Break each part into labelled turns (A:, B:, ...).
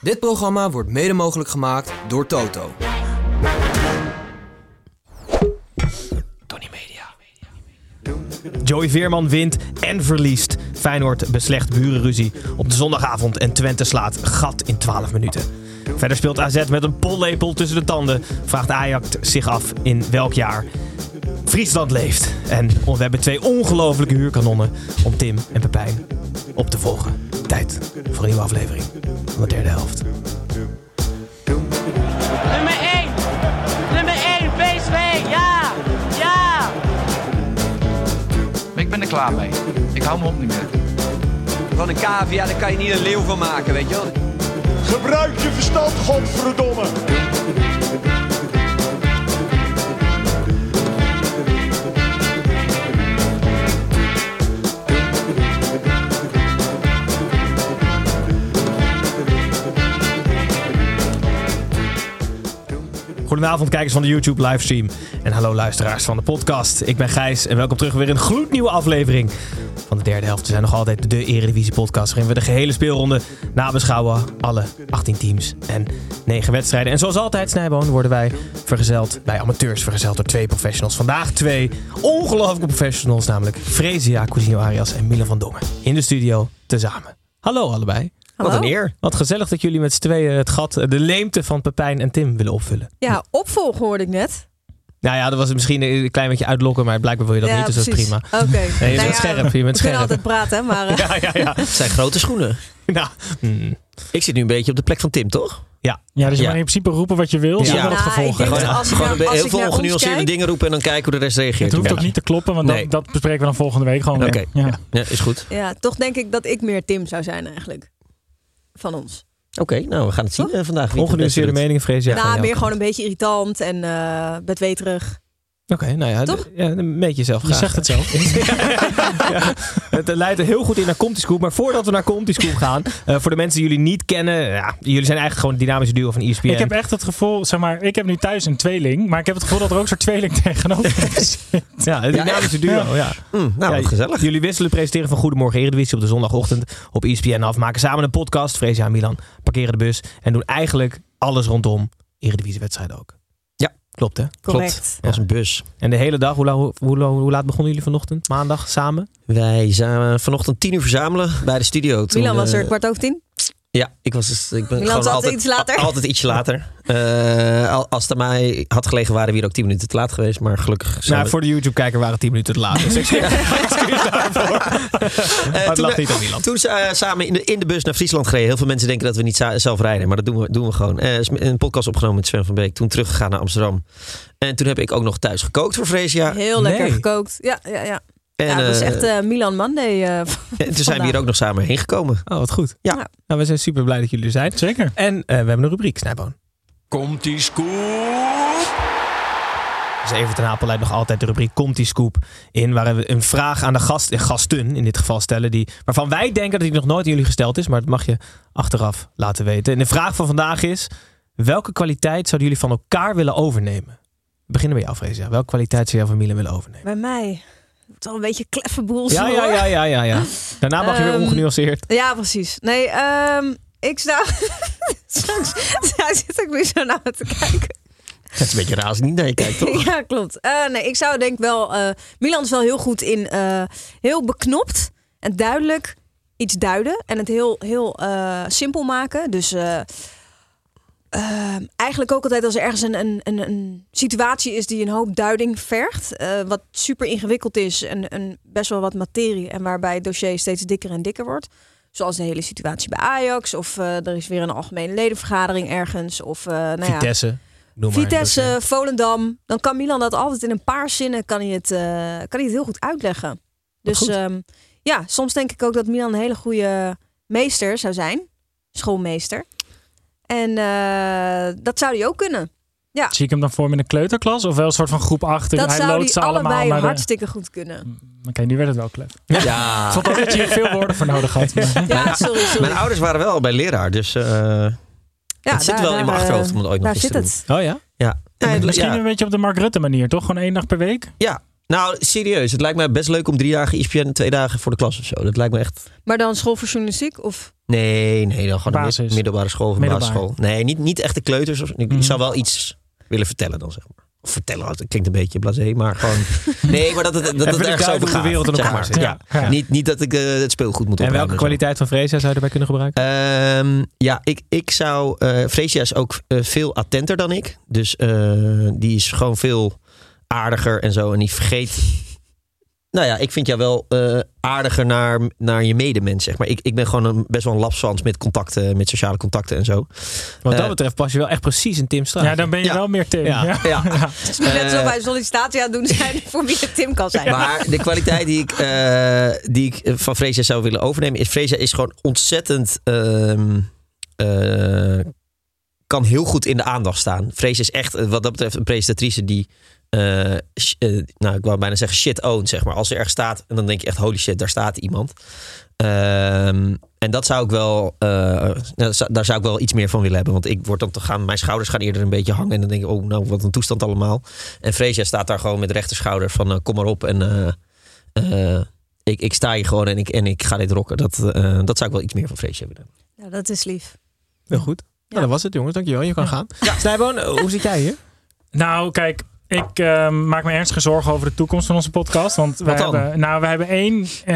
A: Dit programma wordt mede mogelijk gemaakt door Toto. Tony Media.
B: Joey Veerman wint en verliest. Feyenoord beslecht burenruzie op de zondagavond en Twente slaat gat in 12 minuten. Verder speelt AZ met een pollepel tussen de tanden. Vraagt Ajax zich af in welk jaar Friesland leeft. En we hebben twee ongelofelijke huurkanonnen om Tim en Pepijn op te volgen. Tijd voor een nieuwe aflevering van de derde helft.
C: Nummer 1. Nummer 1, PSV. Ja. Ja.
D: Ik ben er klaar mee. Ik hou me op niet meer.
E: Van een cavia, daar kan je niet een leeuw van maken, weet je wel.
F: Gebruik je verstand, godverdomme.
B: Goedenavond kijkers van de YouTube livestream en hallo luisteraars van de podcast. Ik ben Gijs en welkom terug weer in een gloednieuwe aflevering van de derde helft. We zijn nog altijd de Eredivisie podcast waarin we de gehele speelronde nabeschouwen. Alle 18 teams en 9 wedstrijden. En zoals altijd Snijboon worden wij vergezeld bij amateurs, vergezeld door twee professionals. Vandaag twee ongelooflijke professionals, namelijk Frezia Cousinho Arias en Milan van Dongen in de studio tezamen. Hallo allebei. Wat
G: Hallo.
B: een eer. Wat gezellig dat jullie met z'n tweeën het gat, de leemte van Pepijn en Tim willen opvullen.
G: Ja, opvolgen hoorde ik net.
B: Nou ja, dat was misschien een klein beetje uitlokken, maar blijkbaar wil je dat
G: ja,
B: niet, dus
G: precies.
B: dat is prima.
G: Oké. Nou
B: Nee, je bent scherp, je bent
G: We kunnen
B: scherp.
G: altijd praten, hè, maar... eh,
B: Ja, ja, ja.
H: Het zijn grote schoenen.
B: Nou, mm.
H: Ik zit nu een beetje op de plek van Tim, toch?
B: ja.
I: Ja, dus je
H: Ja.
I: mag in principe roepen wat je wil,
H: Ja.
I: zonder
G: Nou,
I: op
G: ik
I: gevolgen.
G: denk
H: Gewoon, eh,
G: dat als ik
H: gewoon
G: naar-
H: een be-
G: als
H: heel
G: ik
H: veel
G: naar ons
H: ongenuanceerde
G: kijk-
H: dingen roepen en dan kijken hoe de rest reageert.
I: Het hoeft
H: Ja.
I: ook niet te kloppen, want
H: Nee.
I: dat, dat bespreken we dan volgende week gewoon weer.
H: Oké.
I: Ja.
H: Ja, is goed.
G: ja, toch denk ik dat ik meer Tim zou zijn eigenlijk. Van ons.
H: Oké, nou we gaan het zien eh, vandaag. wie het het beste
B: ongenuanceerde
H: doet.
B: meningen, vrees jij.
G: nou,
B: van
G: meer
B: jouw
G: gewoon
B: kant.
G: een beetje irritant en eh, betweterig.
B: Oké, nou ja,
G: Toch?
B: d- ja, een beetje zelf
I: Je zegt het zelf.
B: ja, het eh, leidt er heel goed in naar Comty Scoop. Maar voordat we naar Comty Scoop gaan, eh, voor de mensen die jullie niet kennen, ja, jullie zijn eigenlijk gewoon een dynamische duo van E ESPN.
I: Ik heb echt het gevoel, zeg maar, ik heb nu thuis een tweeling, maar ik heb het gevoel dat er ook zo'n tweeling tegenover is.
B: Ja, een dynamische duo, ja.
H: Mm, nou,
B: Ja,
H: wat gezellig.
B: Jullie wisselen presenteren van Goedemorgen Eredivisie op de zondagochtend op E ESPN af. Maken samen een podcast, Freesia en Milan, parkeren de bus en doen eigenlijk alles rondom Eredivisiewedstrijden ook.
H: Ja.
B: Klopt hè?
G: Correct.
H: Als een bus.
B: En de hele dag, hoe, la- hoe, la- hoe laat begonnen jullie vanochtend? Maandag samen?
H: Wij zijn eh, vanochtend tien uur verzamelen bij de studio. Toen,
G: Milan was er
H: eh,
G: kwart over tien.
H: Ja, ik was dus, ik ben
G: Milan
H: gewoon
G: zat
H: altijd
G: iets later.
H: a- altijd ietsje later. Eh, al- als het aan mij had gelegen, waren we hier ook tien minuten te laat geweest. Maar gelukkig zijn
B: Nou,
H: we-
B: voor de YouTube-kijker waren het 10 minuten te laat. Dus excuus daarvoor.
H: Eh,
B: maar het
H: toen
B: lag
H: we-
B: niet aan Milan.
H: Toen ze eh, samen in de, in de bus naar Friesland gereden. Heel veel mensen denken dat we niet za- zelf rijden. Maar dat doen we, doen we gewoon. Eh, is een podcast opgenomen met Sven van Beek. Toen teruggegaan naar Amsterdam. En toen heb ik ook nog thuis gekookt voor Freesia.
G: Heel lekker
B: Ah, nee.
G: gekookt. Ja, ja, ja.
H: En,
G: ja, dat is
H: eh,
G: echt eh, Milan Monday. eh,
H: en toen zijn we hier ook nog samen heen gekomen.
B: Oh, wat goed.
H: Ja.
B: Nou, we zijn super blij dat jullie er zijn.
I: Zeker.
B: En eh, we hebben een rubriek, Snijboon.
D: Komt die scoop?
B: Dus even ten Apel leidt nog altijd de rubriek Komt die Scoop in. Waar we een vraag aan de gast, eh, gasten in dit geval stellen. Die, waarvan wij denken dat die nog nooit aan jullie gesteld is. Maar dat mag je achteraf laten weten. En de vraag van vandaag is: welke kwaliteit zouden jullie van elkaar willen overnemen? We beginnen bij jou, Freesia. Welke kwaliteit zou jij van Milan willen overnemen?
G: Bij mij. Het is al een beetje kleffe boel.
B: Ja, ja, ja, ja, ja, ja. Daarna mag je weer
G: Ehm,
B: ongenuanceerd.
G: Ja, precies. Nee, ehm, ik sta... Straks, daar zit ik nu zo naar me te kijken.
H: Het is een beetje raar als ik niet naar je kijkt, toch?
G: Ja, klopt. Eh, nee, ik zou denk wel... eh, Milan is wel heel goed in... eh, heel beknopt en duidelijk iets duiden. En het heel, heel eh, simpel maken. Dus... eh, ehm, eigenlijk ook altijd als er ergens een, een, een, een situatie is die een hoop duiding vergt. eh, wat super ingewikkeld is en, en best wel wat materie. En waarbij het dossier steeds dikker en dikker wordt. Zoals de hele situatie bij Ajax. Of eh, er is weer een algemene ledenvergadering ergens. Of eh, nou ja,
B: Vitesse. Noem maar.
G: Vitesse, Volendam. Dan kan Milan dat altijd in een paar zinnen kan hij het, eh, kan hij het heel goed uitleggen. Dus
B: goed.
G: ehm, ja, soms denk ik ook dat Milan een hele goede meester zou zijn. Schoolmeester. En eh, dat zou hij ook kunnen. Ja,
I: Zie ik hem dan voor me in een kleuterklas? Of wel een soort van groep achter?
G: dat
I: hij
G: zou
I: loopt
G: hij
I: ze allemaal
G: allebei
I: naar de- Hm,
G: hartstikke goed kunnen.
I: Oké, nu werd het wel klef. Ik
H: Ja.
I: vond ook dat je hier veel woorden voor nodig had. maar-
G: Ja, sorry, sorry.
H: Mijn ouders waren wel al bij leraar, dus eh,
G: ja,
H: het zit
G: daar-
H: wel in mijn
G: daar,
H: achterhoofd om
G: eh,
H: het ooit nog
G: Daar
H: eens
G: zit
H: te doen.
G: het.
B: Oh ja?
H: Ja. Nee, het-
I: Misschien
H: ja.
I: een beetje op de Mark Rutte manier, toch? Gewoon één dag per week?
H: Ja. Nou, serieus. Het lijkt mij best leuk om drie dagen E ISPN en twee dagen voor de klas of zo. Dat lijkt me echt...
G: Maar dan school voor journalistiek? Of
H: Nee, nee. Dan gewoon een
I: Basis.
H: mid- middelbare school of een
I: Middelbaar.
H: basisschool. Nee, niet, niet echte kleuters. Of, ik ik
I: Mhm.
H: zou wel iets willen vertellen dan, zeg maar. Of vertellen, dat klinkt een beetje blasé, maar gewoon... Nee, maar dat het, dat
B: Even
H: het
B: de
H: ergens over
B: hoe de
H: gaat.
B: wereld in
H: zeg
B: elkaar
H: maar.
B: zit.
H: Ja.
I: Ja.
H: Niet, niet dat ik eh, het speelgoed moet
B: En welke
H: opruimen zo.
B: kwaliteit van Freesia zou je erbij kunnen gebruiken?
H: Ehm, ja, ik, ik zou. eh Freesia is ook eh, veel attenter dan ik. Dus eh, die is gewoon veel aardiger en zo. En die vergeet. Nou ja, ik vind jou wel eh, aardiger naar, naar je medemens, zeg maar. Ik, ik ben gewoon een, best wel een lapswans met contacten, met sociale contacten en zo.
B: Wat dat
H: eh,
B: betreft pas je wel echt precies in Tim Straat.
I: Ja, dan ben je
H: Ja.
I: wel meer Tim.
B: Ja.
I: Ja.
H: Ja,
G: het is net
H: Eh,
G: zo bij sollicitatie aan het doen zijn voor wie het Tim kan zijn.
H: Maar de kwaliteit die ik, eh, die ik eh, van Freesia zou willen overnemen is... Freesia is gewoon ontzettend... ehm, eh, kan heel goed in de aandacht staan. Freesia is echt eh, wat dat betreft een presentatrice die... eh, sh- eh, nou, ik wou bijna zeggen shit own, zeg maar. Als ze ergens staat en dan denk je echt holy shit, daar staat iemand. Ehm, en dat zou ik wel, eh, nou, daar zou- daar zou ik wel iets meer van willen hebben. Want ik word dan te gaan, mijn schouders gaan eerder een beetje hangen. En dan denk ik, oh, nou, wat een toestand allemaal. En Freesia staat daar gewoon met rechter schouder van eh, kom maar op en eh, eh, ik, ik sta hier gewoon en ik, en ik ga dit rocken. Dat, eh, dat zou ik wel iets meer van Freesia willen.
G: Nou, dat is lief.
B: Heel goed. Nou, dat was het jongens. Dankjewel. Je kan gaan. Snijboon, eh, hoe zit jij hier?
I: Nou, kijk, ik eh, maak me ernstige zorgen over de toekomst van onze podcast. Want we
H: dan?
I: hebben, nou, we hebben één. eh,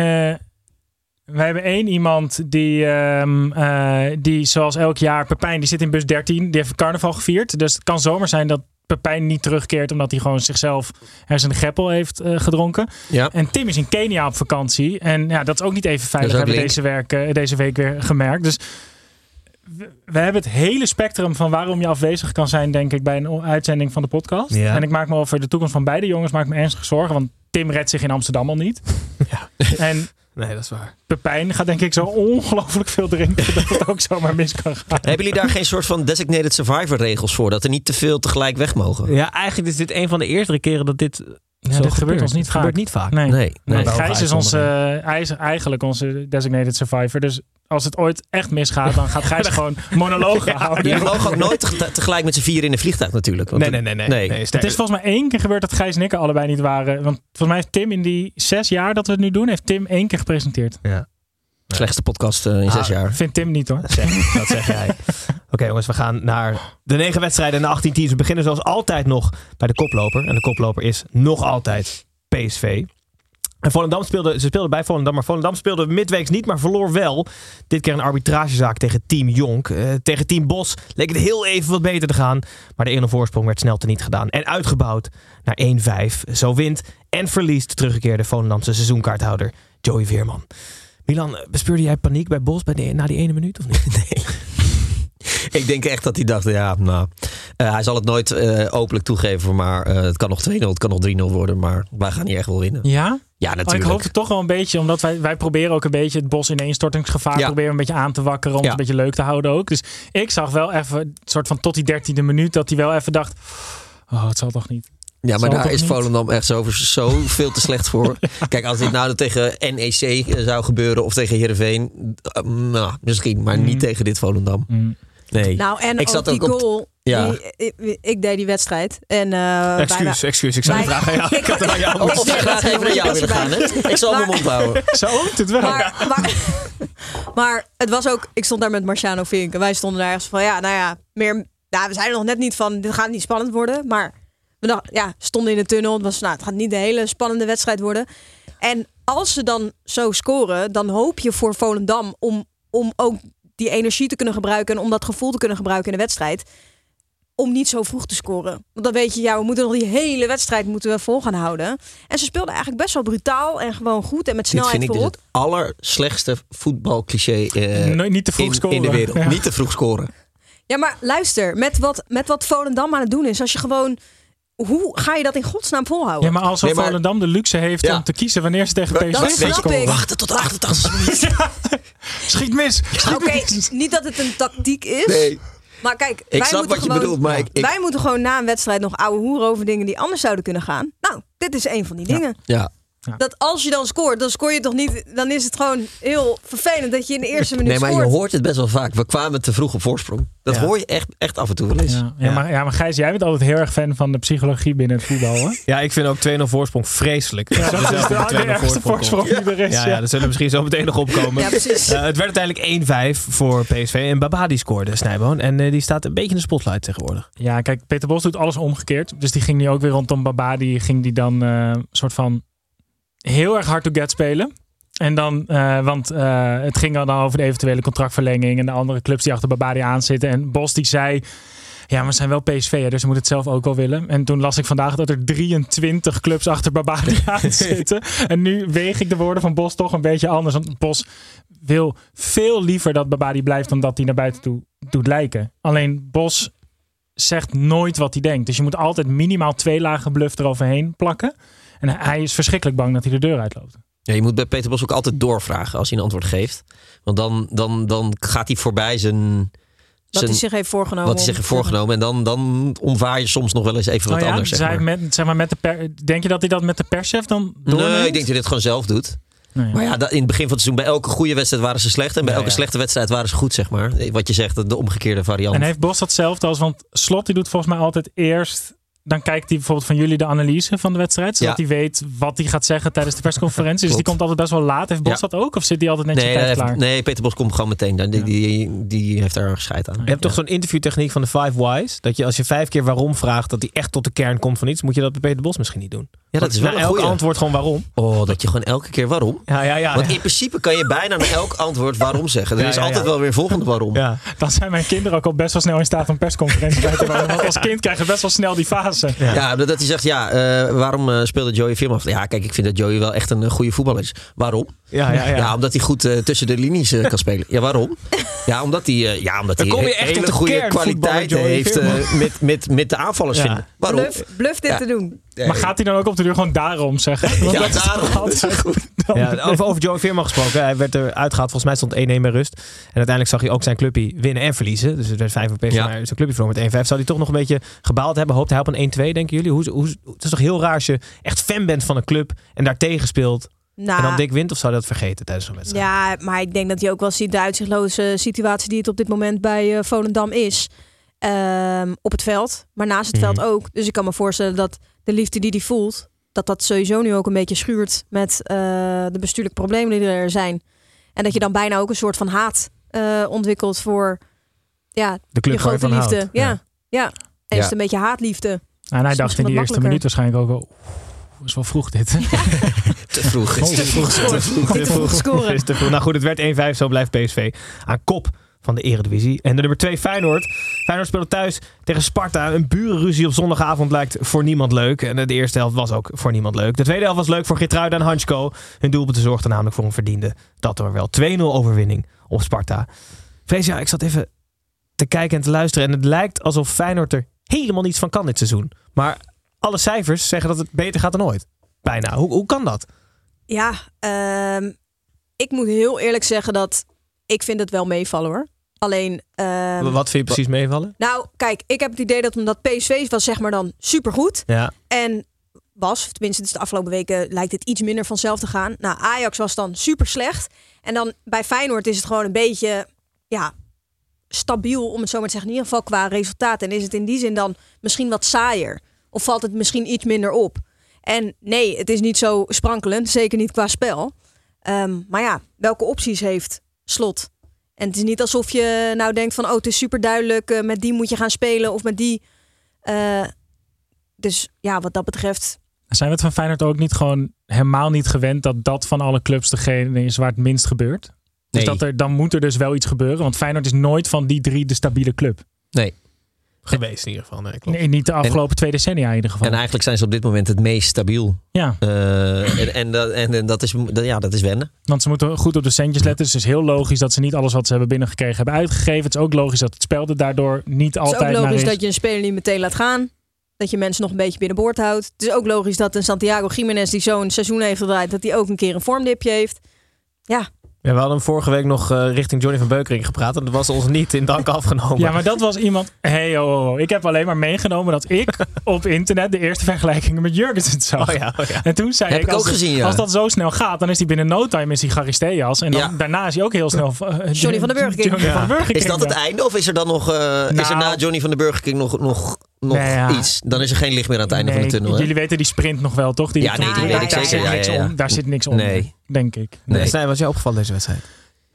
I: we hebben één iemand die, ehm, eh, die, zoals elk jaar, Pepijn, die zit in bus 13. Die heeft carnaval gevierd. Dus het kan zomaar zijn dat Pepijn niet terugkeert, omdat hij gewoon zichzelf ergens een greppel heeft eh, gedronken.
H: Ja.
I: En Tim is in Kenia op vakantie. En ja, dat is ook niet even veilig,
H: ook
I: hebben we
H: link.
I: deze, werk, eh, deze week weer gemerkt. Dus we, we hebben het hele spectrum van waarom je afwezig kan zijn, denk ik, bij een o- uitzending van de podcast.
B: Ja.
I: En ik maak me over de toekomst van beide jongens maak ik me ernstig zorgen, want Tim redt zich in Amsterdam al niet. En
B: Nee, dat is waar.
I: Pepijn gaat denk ik zo ongelooflijk veel drinken dat het ook zomaar mis kan gaan.
H: Hebben jullie daar geen soort van designated survivor regels voor? Dat er niet te veel tegelijk weg mogen?
B: Ja, eigenlijk is dit een van de eerste keren dat dit
I: Ja,
B: zo
I: dit gebeurt ons niet
B: Het gebeurt
I: vaak.
B: niet vaak.
I: Nee.
H: Nee.
I: Nee,
H: nee.
B: Nou,
I: Gijs is
B: uitzondering.
I: onze, eh, hij is eigenlijk onze designated survivor. Dus als het ooit echt misgaat, dan gaat Gijs gewoon monologen houden.
H: Je vloog ook nooit teg- tegelijk met z'n vier in een vliegtuig natuurlijk. Want
B: Nee, nee, nee. nee.
H: Nee.
B: nee
I: Het
B: sterker-
I: is volgens mij één keer gebeurd dat Gijs en ik er allebei niet waren. Want volgens mij heeft Tim in die zes jaar dat we het nu doen, heeft Tim één keer gepresenteerd.
H: de Slechtste podcast eh, in zes
B: Ah,
H: jaar.
I: Vindt Tim niet hoor.
B: Zeg, dat zeg jij. Oké jongens, we gaan naar de negen wedstrijden en de 18 teams. We beginnen zoals altijd nog bij de koploper. En de koploper is nog altijd PSV. En Volendam speelde, ze speelden bij Volendam, maar Volendam speelde midweeks niet, maar verloor wel. Dit keer een arbitragezaak tegen Team Jonk. Eh, tegen Team Bos leek het heel even wat beter te gaan. Maar de 1-0 voorsprong werd snel teniet gedaan en uitgebouwd naar 1-5. Zo wint en verliest de teruggekeerde Volendamse seizoenkaarthouder Joey Veerman. Milan, eh, bespeurde jij paniek bij Bos bij de, na die ene minuut of niet?
H: Ik denk echt dat hij dacht, ja, nou... eh, hij zal het nooit eh, openlijk toegeven, maar eh, het kan nog 2-0, het kan nog 3-0 worden. Maar wij gaan hier echt wel winnen.
I: Ja?
H: Ja,
I: Oh, ik
H: natuurlijk.
I: hoop het toch wel een beetje, omdat wij, wij proberen ook een beetje het bos ineenstortingsgevaar
H: Ja.
I: proberen een beetje aan te wakkeren, om
H: Ja.
I: het een beetje leuk te houden ook. Dus ik zag wel even, een soort van tot die dertiende minuut, dat hij wel even dacht, oh het zal toch niet.
H: Ja, maar
I: Zal
H: daar
I: toch
H: is
I: niet?
H: Volendam echt zo, zo veel te slecht voor. Kijk, als dit nou tegen NEC eh, zou gebeuren of tegen Heerenveen, eh, nou, misschien, maar niet
I: Mm.
H: tegen dit Volendam. Nee.
G: Nou, en
H: Ik
G: ik
H: zat
G: ook die
H: ook op-
G: goal.
H: Ja.
G: die- ik, ik deed die wedstrijd. En, eh,
H: Dus
G: bijna-
B: excuus. Ik
G: zou bijna- vragen aan jou. Ik had het aan jou
H: Oh, of ik graag even naar jou willen gaan, hè? Ik zal mijn mond houden.
I: Zo oomt het wel.
G: Maar, maar, maar het was ook, ik stond daar met Marciano Vink en wij stonden daar ergens van, ja, nou ja, meer, nou, we zijn er nog net niet van, dit gaat niet spannend worden. Maar we dachten, ja, stonden in de tunnel, het was, nou, het gaat niet de hele spannende wedstrijd worden. En als ze dan zo scoren, dan hoop je voor Volendam om, om ook die energie te kunnen gebruiken en om dat gevoel te kunnen gebruiken in de wedstrijd. Om niet zo vroeg te scoren. Want dan weet je, ja, we moeten nog die hele wedstrijd moeten we vol gaan houden. En ze speelden eigenlijk best wel brutaal en gewoon goed en met
H: Dit
G: snelheid
H: vind ik dus
G: voorop.
H: het allerslechtste voetbalcliché eh,
I: Nooit- niet te vroeg
H: in,
I: scoren.
H: in de wereld.
I: Ja.
H: Niet te vroeg scoren.
G: Ja, maar luister, met wat, met wat Volendam aan het doen is, als je gewoon hoe ga je dat in godsnaam volhouden?
I: Ja, maar als
H: Nee, maar-
I: Volendam de luxe heeft
H: Ja.
I: om te kiezen wanneer ze tegen PSV
G: dat
I: gaan
G: snap
I: scoren.
G: ik.
H: Wachten tot de 88
I: Schiet mis! Schiet
G: Oké,
I: mis.
G: niet dat het een tactiek is.
H: Nee.
G: Maar kijk,
H: Ik
G: wij,
H: snap
G: moeten
H: wat je
G: gewoon,
H: bedoelt, maar ik- ik-
G: wij moeten gewoon na een wedstrijd nog ouwe hoeren over dingen die anders zouden kunnen gaan. Nou, dit is een van die dingen.
H: Ja.
G: Dat als je dan scoort, dan scoor je toch niet. Dan is het gewoon heel vervelend dat je in de eerste minuut
H: Nee, maar je
G: scoort.
H: hoort het best wel vaak. We kwamen te vroeg op voorsprong. Dat
B: Ja.
H: hoor je echt, echt af en toe wel eens.
I: Ja, ja, Maar, ja, maar Gijs, jij bent altijd heel erg fan van de psychologie binnen het voetbal, hè?
B: Ja, ik vind ook 2-0 voorsprong vreselijk. Ja,
I: Dat is de allerergste voorsprong die er is.
B: Ja,
I: ja.
B: ja, daar zullen we misschien zo meteen nog opkomen.
G: Ja, precies.
B: Eh, het werd uiteindelijk 1-5 voor PSV. En Baba die scoorde, Snijboon. En eh, die staat een beetje in de spotlight tegenwoordig.
I: Ja, kijk, Peter Bos doet alles omgekeerd. Dus die ging nu ook weer rondom Baba. Die ging die dan eh, soort van heel erg hard to get spelen. En dan, eh, want eh, het ging dan over de eventuele contractverlenging en de andere clubs die achter Babadi aanzitten. En Bos die zei, ja, maar ze zijn wel PSV, hè, dus ze moeten het zelf ook wel willen. En toen las ik vandaag dat er 23 clubs achter Babadi aanzitten. En nu weeg ik de woorden van Bos toch een beetje anders. Want Bos wil veel liever dat Babadi blijft dan dat hij naar buiten toe doet lijken. Alleen Bos zegt nooit wat hij denkt. Dus je moet altijd minimaal twee lagen bluff eroverheen plakken. En hij is verschrikkelijk bang dat hij de deur uitloopt.
H: Ja, je moet bij Peter Bos ook altijd doorvragen als hij een antwoord geeft. Want dan, dan, dan gaat hij voorbij zijn,
G: Wat hij
H: zijn,
G: zich heeft voorgenomen.
H: wat hij zich heeft voorgenomen. En dan, dan omvaar je soms nog wel eens even wat
B: Oh
I: Nou ja,
H: anders. Zeg
I: zij
H: maar.
I: Met, zeg maar met de per- denk je dat hij dat met de perschef dan doorneemt?
H: Nee, ik denk dat hij dit gewoon zelf doet.
I: Nou ja.
H: Maar ja, dat- in het begin van het seizoen, bij elke goede wedstrijd waren ze slecht. En bij
B: Ja,
H: elke
B: ja.
H: slechte wedstrijd waren ze goed, zeg maar. Wat je zegt, de omgekeerde variant.
I: En heeft Bos datzelfde als, want Slot die doet volgens mij altijd eerst... Dan kijkt hij bijvoorbeeld van jullie de analyse van de wedstrijd. Zodat
H: Ja.
I: hij weet wat hij gaat zeggen tijdens de persconferentie. dus die
H: Klopt.
I: komt altijd best wel laat. Heeft Bos
H: Ja.
I: dat ook? Of zit hij altijd netjes
H: nee,
I: op tijd
H: hij heeft-
I: klaar?
H: nee, Peter Bos komt gewoon meteen. Die, die, die heeft daar een scheid aan.
B: Je hebt toch zo'n interviewtechniek van de Five Whys? Dat je als je vijf keer waarom vraagt, dat die echt tot de kern komt van iets. Moet je dat bij Peter Bos misschien niet doen?
H: Ja, dat is wel
B: Na
H: een
B: elk
H: goeie.
B: antwoord gewoon waarom.
H: Oh, dat je gewoon elke keer waarom?
B: Ja, ja, ja.
H: Want in principe kan je bijna naar elk antwoord waarom zeggen. Er
B: Ja,
H: is
B: ja,
H: altijd
B: ja.
H: wel weer een volgende waarom.
B: ja.
I: Dan zijn mijn kinderen ook al best wel snel in staat om persconferenties bij te wonen. Want als kind krijg je best wel snel die fase.
H: Ja, dat hij zegt, ja, eh, waarom eh, speelde Joey Veerman? Ja, kijk, ik vind dat Joey wel echt een eh, goede voetballer is. Waarom?
B: Ja, ja, ja.
H: omdat hij goed eh, tussen de linies eh, kan spelen. Ja, waarom? Ja, omdat hij, eh, ja, omdat
B: Dan
H: hij
B: kom je echt tot
H: hele
B: de
H: goede
B: kern voetballer,
H: kwaliteiten
B: Joey
H: heeft eh, met, met, met de aanvallers
B: Ja.
H: vinden. Waarom?
G: Bluff, bluff dit
H: Ja.
G: te doen.
I: Maar gaat hij dan ook op de duur gewoon daarom zeggen? Want
H: Ja,
I: dat is toch
H: daarom.
I: altijd goed. Dan-
B: Ja, Oh, over, over Joey Veerman gesproken. Hij werd eruit gehaald. Volgens mij stond 1-1 bij rust. En uiteindelijk zag hij ook zijn clubje winnen en verliezen. Dus het werd 5 voor PSV.
H: Ja.
B: Maar zijn clubje verloor met 1-5. Zou hij toch nog een beetje gebaald hebben? Hoopt hij op een 1-2, denken jullie? Hoe, hoe, het is toch heel raar als je echt fan bent van een club en daartegen speelt.
G: Nou,
B: En dan dik wint of zou hij dat vergeten tijdens zo'n wedstrijd?
G: Ja, maar ik denk dat hij ook wel ziet de uitzichtloze situatie die het op dit moment bij eh, Volendam is. Ehm, op het veld, maar naast het
B: Mhm.
G: veld ook. Dus ik kan me voorstellen dat de liefde die hij voelt, dat dat sowieso nu ook een beetje schuurt met eh, de bestuurlijke problemen die er zijn. En dat je dan bijna ook een soort van haat eh, ontwikkelt voor ja,
B: De club
G: je
B: waar je
G: grote
B: van
G: liefde.
B: houdt.
G: Ja,
B: Ja.
G: ja.
H: Ja.
G: En is het een beetje haatliefde.
I: Nou, en hij
G: is
I: dacht in
G: misschien
I: die
G: wat
I: eerste minuut waarschijnlijk ook wel... "Oeh, is wel vroeg dit.
H: Te vroeg.
B: Is te vroeg
G: gescoord. Dit is vroeg scoren.
B: Is te vroeg. Nou goed, het werd 1-5. Zo blijft PSV aan kop van de Eredivisie. En de nummer 2 Feyenoord. Feyenoord speelde thuis tegen Sparta. Een burenruzie op zondagavond lijkt voor niemand leuk. En de eerste helft was ook voor niemand leuk. De tweede helft was leuk voor Gertruida en Hansko. Hun doelpunten zorgden namelijk voor een verdiende. Dat door wel 2-0 overwinning op Sparta. Vrees, ja, ik zat even te kijken en te luisteren. En het lijkt alsof Feyenoord er helemaal niets van kan dit seizoen. Maar alle cijfers zeggen dat het beter gaat dan ooit. Bijna. Hoe, hoe kan dat?
G: Ja, ehm, ik moet heel eerlijk zeggen dat ik vind het wel meevallen hoor. Alleen. ehm,
B: Wat vind je precies meevallen?
G: Nou, kijk, ik heb het idee dat omdat PSV was zeg maar dan supergoed.
B: Ja,
G: En was, of tenminste dus de afgelopen weken lijkt het iets minder vanzelf te gaan. Nou, Ajax was dan super slecht. En dan bij Feyenoord is het gewoon een beetje ja, stabiel, om het zo maar te zeggen. In ieder geval qua resultaat. En is het in die zin dan misschien wat saaier? Of valt het misschien iets minder op? En nee, het is niet zo sprankelend. Zeker niet qua spel. Ehm, maar ja, welke opties heeft Slot? En het is niet alsof je nou denkt van... oh, het is super duidelijk, met die moet je gaan spelen of met die. Eh, dus ja, wat dat betreft...
I: Zijn we het van Feyenoord ook niet gewoon helemaal niet gewend dat dat van alle clubs degene is waar het minst gebeurt? Dus
H: Nee.
I: dat er, dan moet er dus wel iets gebeuren, want Feyenoord is nooit van die drie de stabiele club.
B: geweest in ieder geval. Nee, klopt.
I: Nee, niet de afgelopen twee decennia in ieder geval.
H: En eigenlijk zijn ze op dit moment het meest stabiel.
I: ja,
H: Eh, en, en, dat- en, en dat, is, dat- ja, dat is wennen.
I: want ze moeten goed op de centjes letten. Dus het is heel logisch dat ze niet alles wat ze hebben binnengekregen hebben uitgegeven. Het is ook logisch dat het spel er daardoor
G: Het
I: niet
G: is ook
I: altijd naar
G: logisch
I: is.
G: dat je een speler niet meteen laat gaan. Dat je mensen nog een beetje binnenboord houdt. Het is ook logisch dat een Santiago Jiménez die zo'n seizoen heeft gedraaid, dat hij ook een keer een vormdipje heeft. Ja,
B: Ja, we hadden hem vorige week nog eh, richting Johnny van Beukering gepraat. En dat was ons niet in dank afgenomen.
I: Ja, maar dat was iemand. Hey, oh, oh, oh. ik heb alleen maar meegenomen dat ik op internet de eerste vergelijkingen met Jurgensen zag.
B: Oh ja, oh ja.
I: En toen zei
H: Heb
I: ik,
H: ik
I: als,
H: ook gezien, ja.
I: als dat zo snel gaat, dan is hij binnen no time is hij Charisteas. En dan,
H: Ja.
I: daarna is hij ook heel snel. eh,
G: Johnny van den Burger King.
I: Johnny
B: Ja.
I: van den Burger
H: Is
I: King,
H: dat het
I: ja.
H: einde of is er dan nog, eh, is er
I: Nou.
H: na Johnny van de Burger King nog, nog, nog
I: Nou ja.
H: iets? Dan is er geen licht meer aan het einde van de
I: Nee,
H: tunnel. hè?
I: Jullie weten die sprint nog wel, toch? Die
H: Ja, nee,
G: die weet ik
I: daar
G: zeker.
I: zit
G: Ja,
I: niks
H: ja, ja.
I: om- Daar zit niks om,
H: Nee.
I: denk ik.
H: Nee.
B: Snij, wat is jou opgevallen deze wedstrijd?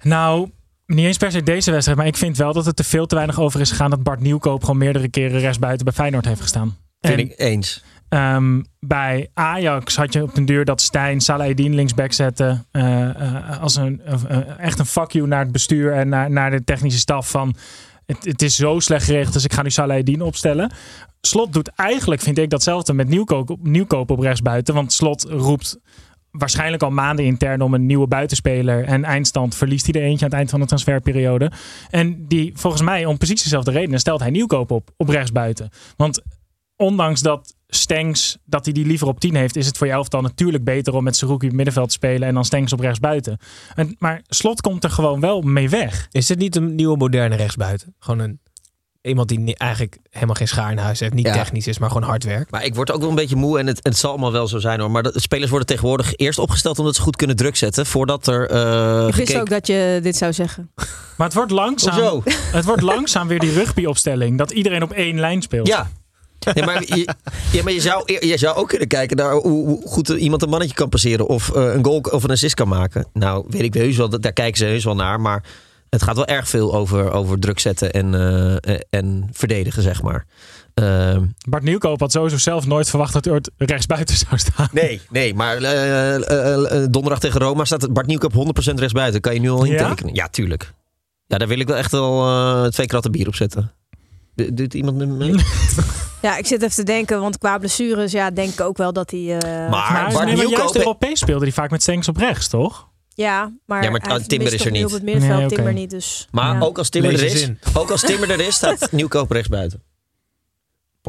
I: Nou, niet eens per se deze wedstrijd, maar ik vind wel dat het er veel te weinig over is gegaan dat Bart Nieuwkoop gewoon meerdere keren rechtsbuiten bij Feyenoord heeft gestaan.
H: Vind
I: En-
H: ik eens.
I: Ehm, bij Ajax had je op den duur dat Stijn Salahedin linksback zette. eh, eh, als een, eh, eh, echt een fuck you naar het bestuur en naar, naar de technische staf. Van het, het is zo slecht geregeld, dus ik ga nu Salahedin opstellen. Slot doet eigenlijk, vind ik, datzelfde met Nieuwkoop, Nieuwkoop op rechtsbuiten. Want Slot roept waarschijnlijk al maanden intern om een nieuwe buitenspeler. En eindstand verliest hij er eentje aan het eind van de transferperiode. En die, volgens mij, om precies dezelfde reden, stelt hij Nieuwkoop op, op rechtsbuiten. Want ondanks dat Stengs, dat hij die liever op 10 heeft, is het voor je elftal natuurlijk beter om met Saruki op middenveld te spelen en dan Stengs op rechtsbuiten. En, maar Slot komt er gewoon wel mee weg.
B: Is dit niet een nieuwe moderne rechtsbuiten? Gewoon een, iemand die ni- eigenlijk helemaal geen schaar in huis heeft. Niet
H: Ja.
B: technisch is, maar gewoon hard werkt.
H: Maar ik word ook wel een beetje moe en het, het zal allemaal wel zo zijn hoor. Maar de spelers worden tegenwoordig eerst opgesteld omdat ze goed kunnen druk zetten. Voordat er eh
G: ik wist
H: gekeken-
G: ook dat je dit zou zeggen.
I: Maar het wordt langzaam,
H: Hoezo?
I: het wordt langzaam weer die rugbyopstelling. Dat iedereen op één lijn speelt.
H: Ja. Nee, maar je, ja, maar je, zou, je zou ook kunnen kijken naar hoe, hoe goed iemand een mannetje kan passeren. Of eh, een goal of een assist kan maken. Nou, weet ik heus wel, dat- daar kijken ze heus wel naar. Maar het gaat wel erg veel over, over druk zetten en, eh, eh, en verdedigen, zeg maar. Ehm,
I: Bart Nieuwkoop had sowieso zelf nooit verwacht dat Urt rechtsbuiten zou staan.
H: nee, nee, maar eh, eh, eh, donderdag tegen Roma staat Bart Nieuwkamp 100% rechtsbuiten. Kan je nu al
I: Ja?
H: intekenen? Ja, tuurlijk. Ja, daar wil ik wel echt wel eh, twee kratten bier op zetten. D- Doet iemand me mee?
G: Ja, ik zit even te denken, want qua blessures, ja, denk ik ook wel dat hij. eh,
H: Maar-
I: Maar,
H: Bart
I: nee, maar juist
H: Nieuwkoop-
I: Europees speelde die vaak met Stengs op rechts, toch?
G: Ja, maar,
H: Ja, maar
G: hij
H: Timber
G: mist
H: is
G: toch
H: er niet.
G: Op het middenveld
I: Nee, oké.
G: Timber niet, dus.
H: Maar
G: ja.
H: ook als Timmer er
B: Lees je
H: is,
B: zin.
H: ook als Timmer er is, staat Nieuwkoop rechts buiten. 100%.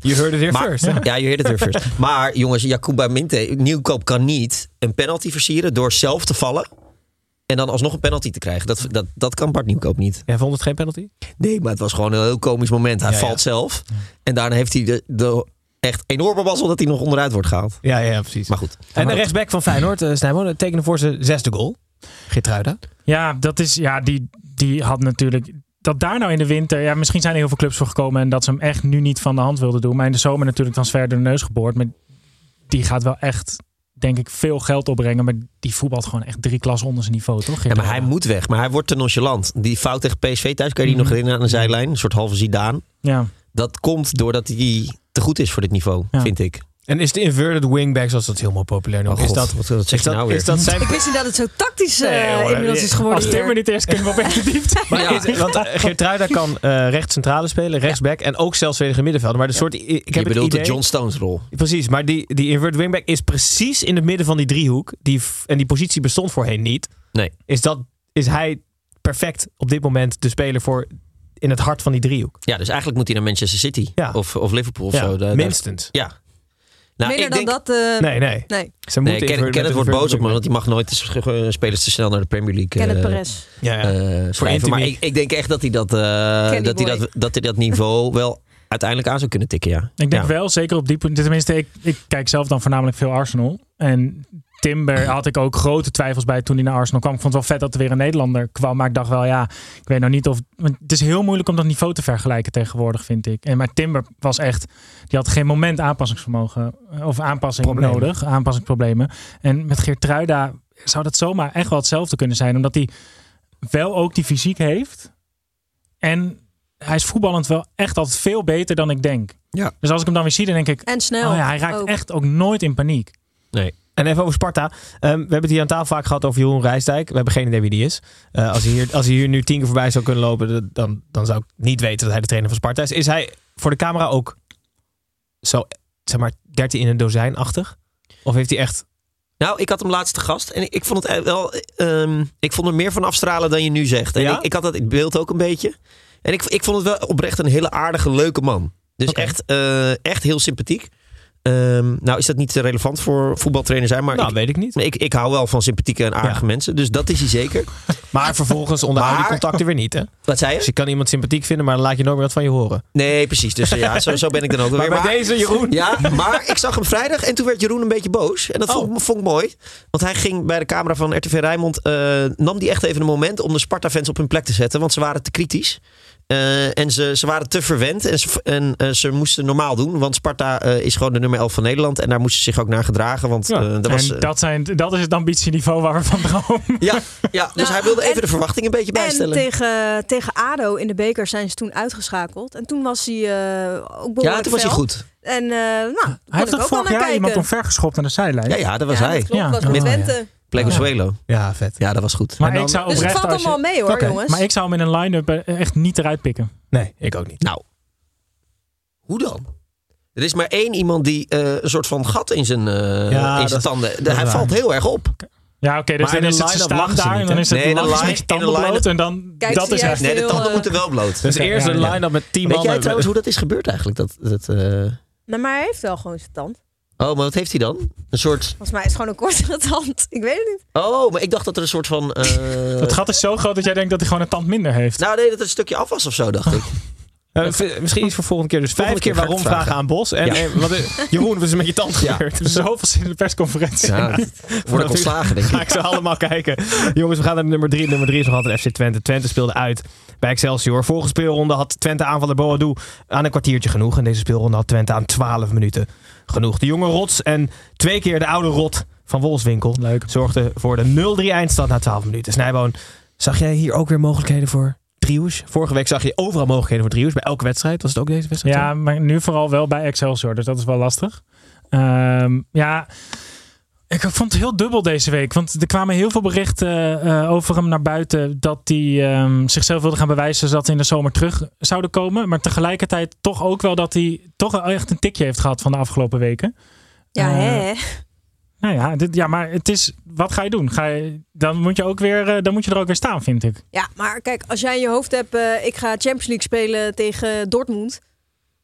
B: Je hoorde het weer
H: Maar-
B: first. hè?
H: Ja, je heerde het weer first. Maar jongens, Jacoba Minte, Nieuwkoop kan niet een penalty versieren door zelf te vallen. En dan alsnog een penalty te krijgen. Dat, dat, dat kan Bart Nieuwkoop niet.
B: Jij vond het geen penalty?
H: Nee, maar het was gewoon een heel komisch moment. Hij
B: Ja, ja.
H: valt zelf. En daarna heeft hij de, de echt enorme mazzel dat hij nog onderuit wordt gehaald.
B: Ja, ja, precies.
H: Maar goed.
B: en de rechtsback van Feyenoord, eh Snijboon, tekende voor zijn zesde goal. Geertruida.
I: Ja, dat is, ja die, die had natuurlijk. Dat daar nou in de winter, ja, misschien zijn er heel veel clubs voor gekomen en dat ze hem echt nu niet van de hand wilden doen. Maar in de zomer natuurlijk transfer door de neus geboord. Maar die gaat wel echt, denk ik, veel geld opbrengen. Maar die voetbalt gewoon echt drie klassen onder zijn niveau, toch?
H: Ja, maar hij moet weg. Maar hij wordt te nonchalant. Die fout tegen PSV thuis,
B: Mhm.
H: kan je die nog herinneren aan de zijlijn? Een soort halve Zidane.
I: Ja.
H: Dat komt doordat hij te goed is voor dit niveau,
I: Ja.
H: vind ik.
B: En is de inverted wingback, zoals dat helemaal populair noemt,
H: Oh,
B: is
H: God,
B: dat,
H: wat- wat zeg
B: is
H: je
B: dat,
H: nou weer?
B: is dat zijn...
G: Ik wist niet dat het zo tactisch eh,
B: Nee, hoor,
G: inmiddels
B: eh,
G: is geworden.
I: Als Timmer
G: hier.
I: niet eerst kunnen we op echt de diepte.
B: Maar is- want eh, Geertruida kan eh rechts centrale spelen, rechtsback en ook zelfs verdediger middenvelder. Maar de soort, ik heb
H: je
B: het
H: bedoelt
B: idee,
H: de John Stones rol.
B: Precies, maar die, die inverted wingback is precies in het midden van die driehoek. Die, f- en die positie bestond voorheen niet.
H: Nee.
B: Is, dat, is hij perfect op dit moment de speler voor in het hart van die driehoek?
H: Ja, dus eigenlijk moet hij naar Manchester City
B: Ja.
H: of, of Liverpool of
B: Ja,
H: zo. Daar-
B: minstens.
H: daar- ja. Nou,
G: Minder dan dat. eh,
B: Nee, nee.
G: nee.
B: Ze
H: Nee, Ken-
B: moeten inverted-
H: Kenneth wordt
B: inverted
H: boos op me,
B: wingback.
H: want die mag nooit de sch- eh, spelers te snel naar de Premier League eh,
G: Kenneth Perez.
B: Ja, ja.
H: eh, schrijven. Maar
B: Intimie.
H: ik, ik denk echt dat hij dat, eh,
G: Kenny
H: dat, hij
G: boy.
H: dat, dat, hij dat niveau wel uiteindelijk aan zou kunnen tikken, ja.
I: Ik denk
H: Ja.
I: wel, zeker op die punt. Tenminste, ik, ik kijk zelf dan voornamelijk veel Arsenal. En Timber had ik ook grote twijfels bij toen hij naar Arsenal kwam. Ik vond het wel vet dat er weer een Nederlander kwam. Maar ik dacht wel, ja, ik weet nou niet of... Want het is heel moeilijk om dat niveau te vergelijken tegenwoordig, vind ik. En, maar Timber was echt... Die had geen moment aanpassingsvermogen eh, of aanpassing
B: Problemen.
I: nodig. Aanpassingsproblemen. En met Geertruida zou dat zomaar echt wel hetzelfde kunnen zijn. Omdat hij wel ook die fysiek heeft. En hij is voetballend wel echt altijd veel beter dan ik denk.
H: Ja.
I: Dus als ik hem dan weer zie, dan denk ik...
G: En snel.
I: Oh ja, hij raakt
G: ook.
I: echt ook nooit in paniek.
B: En even over Sparta. Ehm, we hebben het hier aan tafel vaak gehad over Jeroen Rijsdijk. We hebben geen idee wie die is. Eh, als, hij hier, als hij hier nu tien keer voorbij zou kunnen lopen, dat- dan, dan zou ik niet weten dat hij de trainer van Sparta is. Is hij voor de camera ook zo, zeg maar, 13 in een dozijn-achtig? Of heeft hij echt...
H: Nou, ik had hem laatst te gast en ik vond het e- wel. ehm, ik vond er meer van afstralen dan je nu zegt. En
B: Ja?
H: ik, ik had dat in beeld ook een beetje. En ik, ik vond het wel oprecht een hele aardige, leuke man. Dus echt, eh, echt heel sympathiek. Ehm, nou is dat niet eh, relevant voor voetbaltrainer zijn, maar
B: Nou,
H: ik,
B: weet ik niet.
H: ik, ik hou wel van sympathieke en aardige
B: Ja.
H: mensen. Dus dat is hij zeker.
B: Maar vervolgens onderhouden die
H: Maar-
B: contacten weer niet, hè?
H: Wat zei
B: Dus
H: je?
B: je kan iemand sympathiek vinden, maar dan laat je nooit meer wat van je horen.
H: Nee, precies. Dus eh, ja, zo, zo ben ik dan ook weer.
B: Maar bij deze, Jeroen.
H: Ja, maar ik zag hem vrijdag en toen werd Jeroen een beetje boos. En dat
I: Oh.
H: vond, ik- vond ik mooi. Want hij ging bij de camera van RTV Rijnmond... eh, nam die echt even een moment om de Sparta-fans op hun plek te zetten. Want ze waren te kritisch. Eh, en ze, ze waren te verwend. En, ze, en eh, ze moesten normaal doen. Want Sparta eh, is gewoon de nummer 11 van Nederland. En daar moesten ze zich ook naar gedragen. Want
I: Ja.
H: eh, dat was...
I: en
H: eh,
I: dat, zijn, dat is het ambitieniveau waar we van dromen.
H: ja, ja, dus
G: Nou,
H: hij wilde even
G: en-
H: de verwachting een beetje
G: En
H: bijstellen.
G: tegen, tegen ADO in de beker zijn ze toen uitgeschakeld. En toen was hij eh, ook behoorlijk
H: ja, toen was hij
G: fel.
H: goed.
G: En eh, nou, kon
I: Hij
G: ik
I: heeft toch
G: ook wel
I: vorig
G: naar
I: jaar
G: kijken.
I: iemand omvergeschopt aan de zijlijn?
H: Ja, ja, dat was
G: ja,
H: hij.
G: Dat klopt,
I: Ja.
G: was met
I: Ja.
G: Twente.
H: Plegosuelo.
B: Ja, vet.
H: Ja, dat was goed.
I: Maar
B: En dan-
I: ik zou
G: Dus het
I: oprecht
G: valt
I: als je-
G: allemaal mee hoor,
B: Oké,
G: jongens.
I: Maar ik zou hem in een line-up eh, echt niet eruit pikken.
B: Nee, ik ook niet.
H: Nou, hoe dan? Er is maar één iemand die eh, een soort van gat in zijn, eh,
B: Ja,
H: in zijn
B: dat-
H: tanden.
B: dat is
H: hij
B: waar.
H: valt heel erg op.
I: Ja, oké, dus
B: Maar in
I: dan
B: een
I: is het ze
B: line-up
I: staan
B: lachen ze
I: daar en
B: niet,
I: dan
B: hè?
I: is het
H: Nee, in een
I: lachen ze
H: line-
I: met je
H: in een
I: tanden
H: line-up-
I: bloot en dan...
G: Kijk,
I: dat
G: zie
I: is
G: jij-
I: echt...
H: Nee, de
G: heel,
H: tanden
G: eh,
H: moeten wel bloot.
B: Dus
I: Oké,
B: eerst
I: ja,
B: een
I: ja.
B: line-up met 10
H: Weet
B: man.
H: jij trouwens hoe dat is gebeurd eigenlijk? Dat, dat, eh,
G: Nou, maar hij heeft wel gewoon zijn tand.
H: Oh, maar wat heeft hij dan? Een soort...
G: Volgens mij is het gewoon een kortere tand. Ik weet het niet.
H: Oh, maar ik dacht dat er een soort van... eh,
I: Het gat is zo groot dat jij denkt dat hij gewoon een tand minder heeft.
H: Nou nee, dat er een stukje af was of zo, dacht ik.
B: Eh, v- misschien iets voor volgende keer. Dus vijf
H: Volgende keer ga
B: keer
H: ik
B: waarom
H: het vragen.
B: vragen aan Bos. En,
H: Ja.
B: eh, wat, eh, Jeroen, wat is er met je tand
H: Ja.
B: gebeurd?
I: Zoveel zin in de persconferentie.
H: Ja, word ik ontslagen, denk
B: Ga
H: ik.
B: ik ze allemaal kijken. Jongens, we gaan naar nummer 3. Nummer 3 is nog altijd FC Twente. Twente speelde uit bij Excelsior. Vorige speelronde had Twente aanvaller Boadu aan een kwartiertje genoeg. En deze speelronde had Twente aan 12 minuten genoeg. De jonge rots en twee keer de oude rot van Wolfswinkel
I: Leuk.
B: zorgde voor de 0-3 eindstand na 12 minuten. Snijboon, zag jij hier ook weer mogelijkheden voor Driehoes? Vorige week zag je overal mogelijkheden voor Driehoes. Bij elke wedstrijd. Was het ook deze wedstrijd?
I: Ja, maar nu vooral wel bij Excelsior, dus dat is wel lastig. Ehm, ja, ik vond het heel dubbel deze week. Want er kwamen heel veel berichten eh, over hem naar buiten dat hij ehm, zichzelf wilde gaan bewijzen dat ze in de zomer terug zouden komen. Maar tegelijkertijd toch ook wel dat hij toch wel echt een tikje heeft gehad van de afgelopen weken.
G: Ja,
I: Eh,
G: hè?
I: Nou ja, dit, ja maar het is, wat ga je doen? Ga je, dan, moet je ook weer, eh, dan moet je er ook weer staan, vind ik.
G: Ja, maar kijk, als jij in je hoofd hebt, eh, ik ga Champions League spelen tegen Dortmund.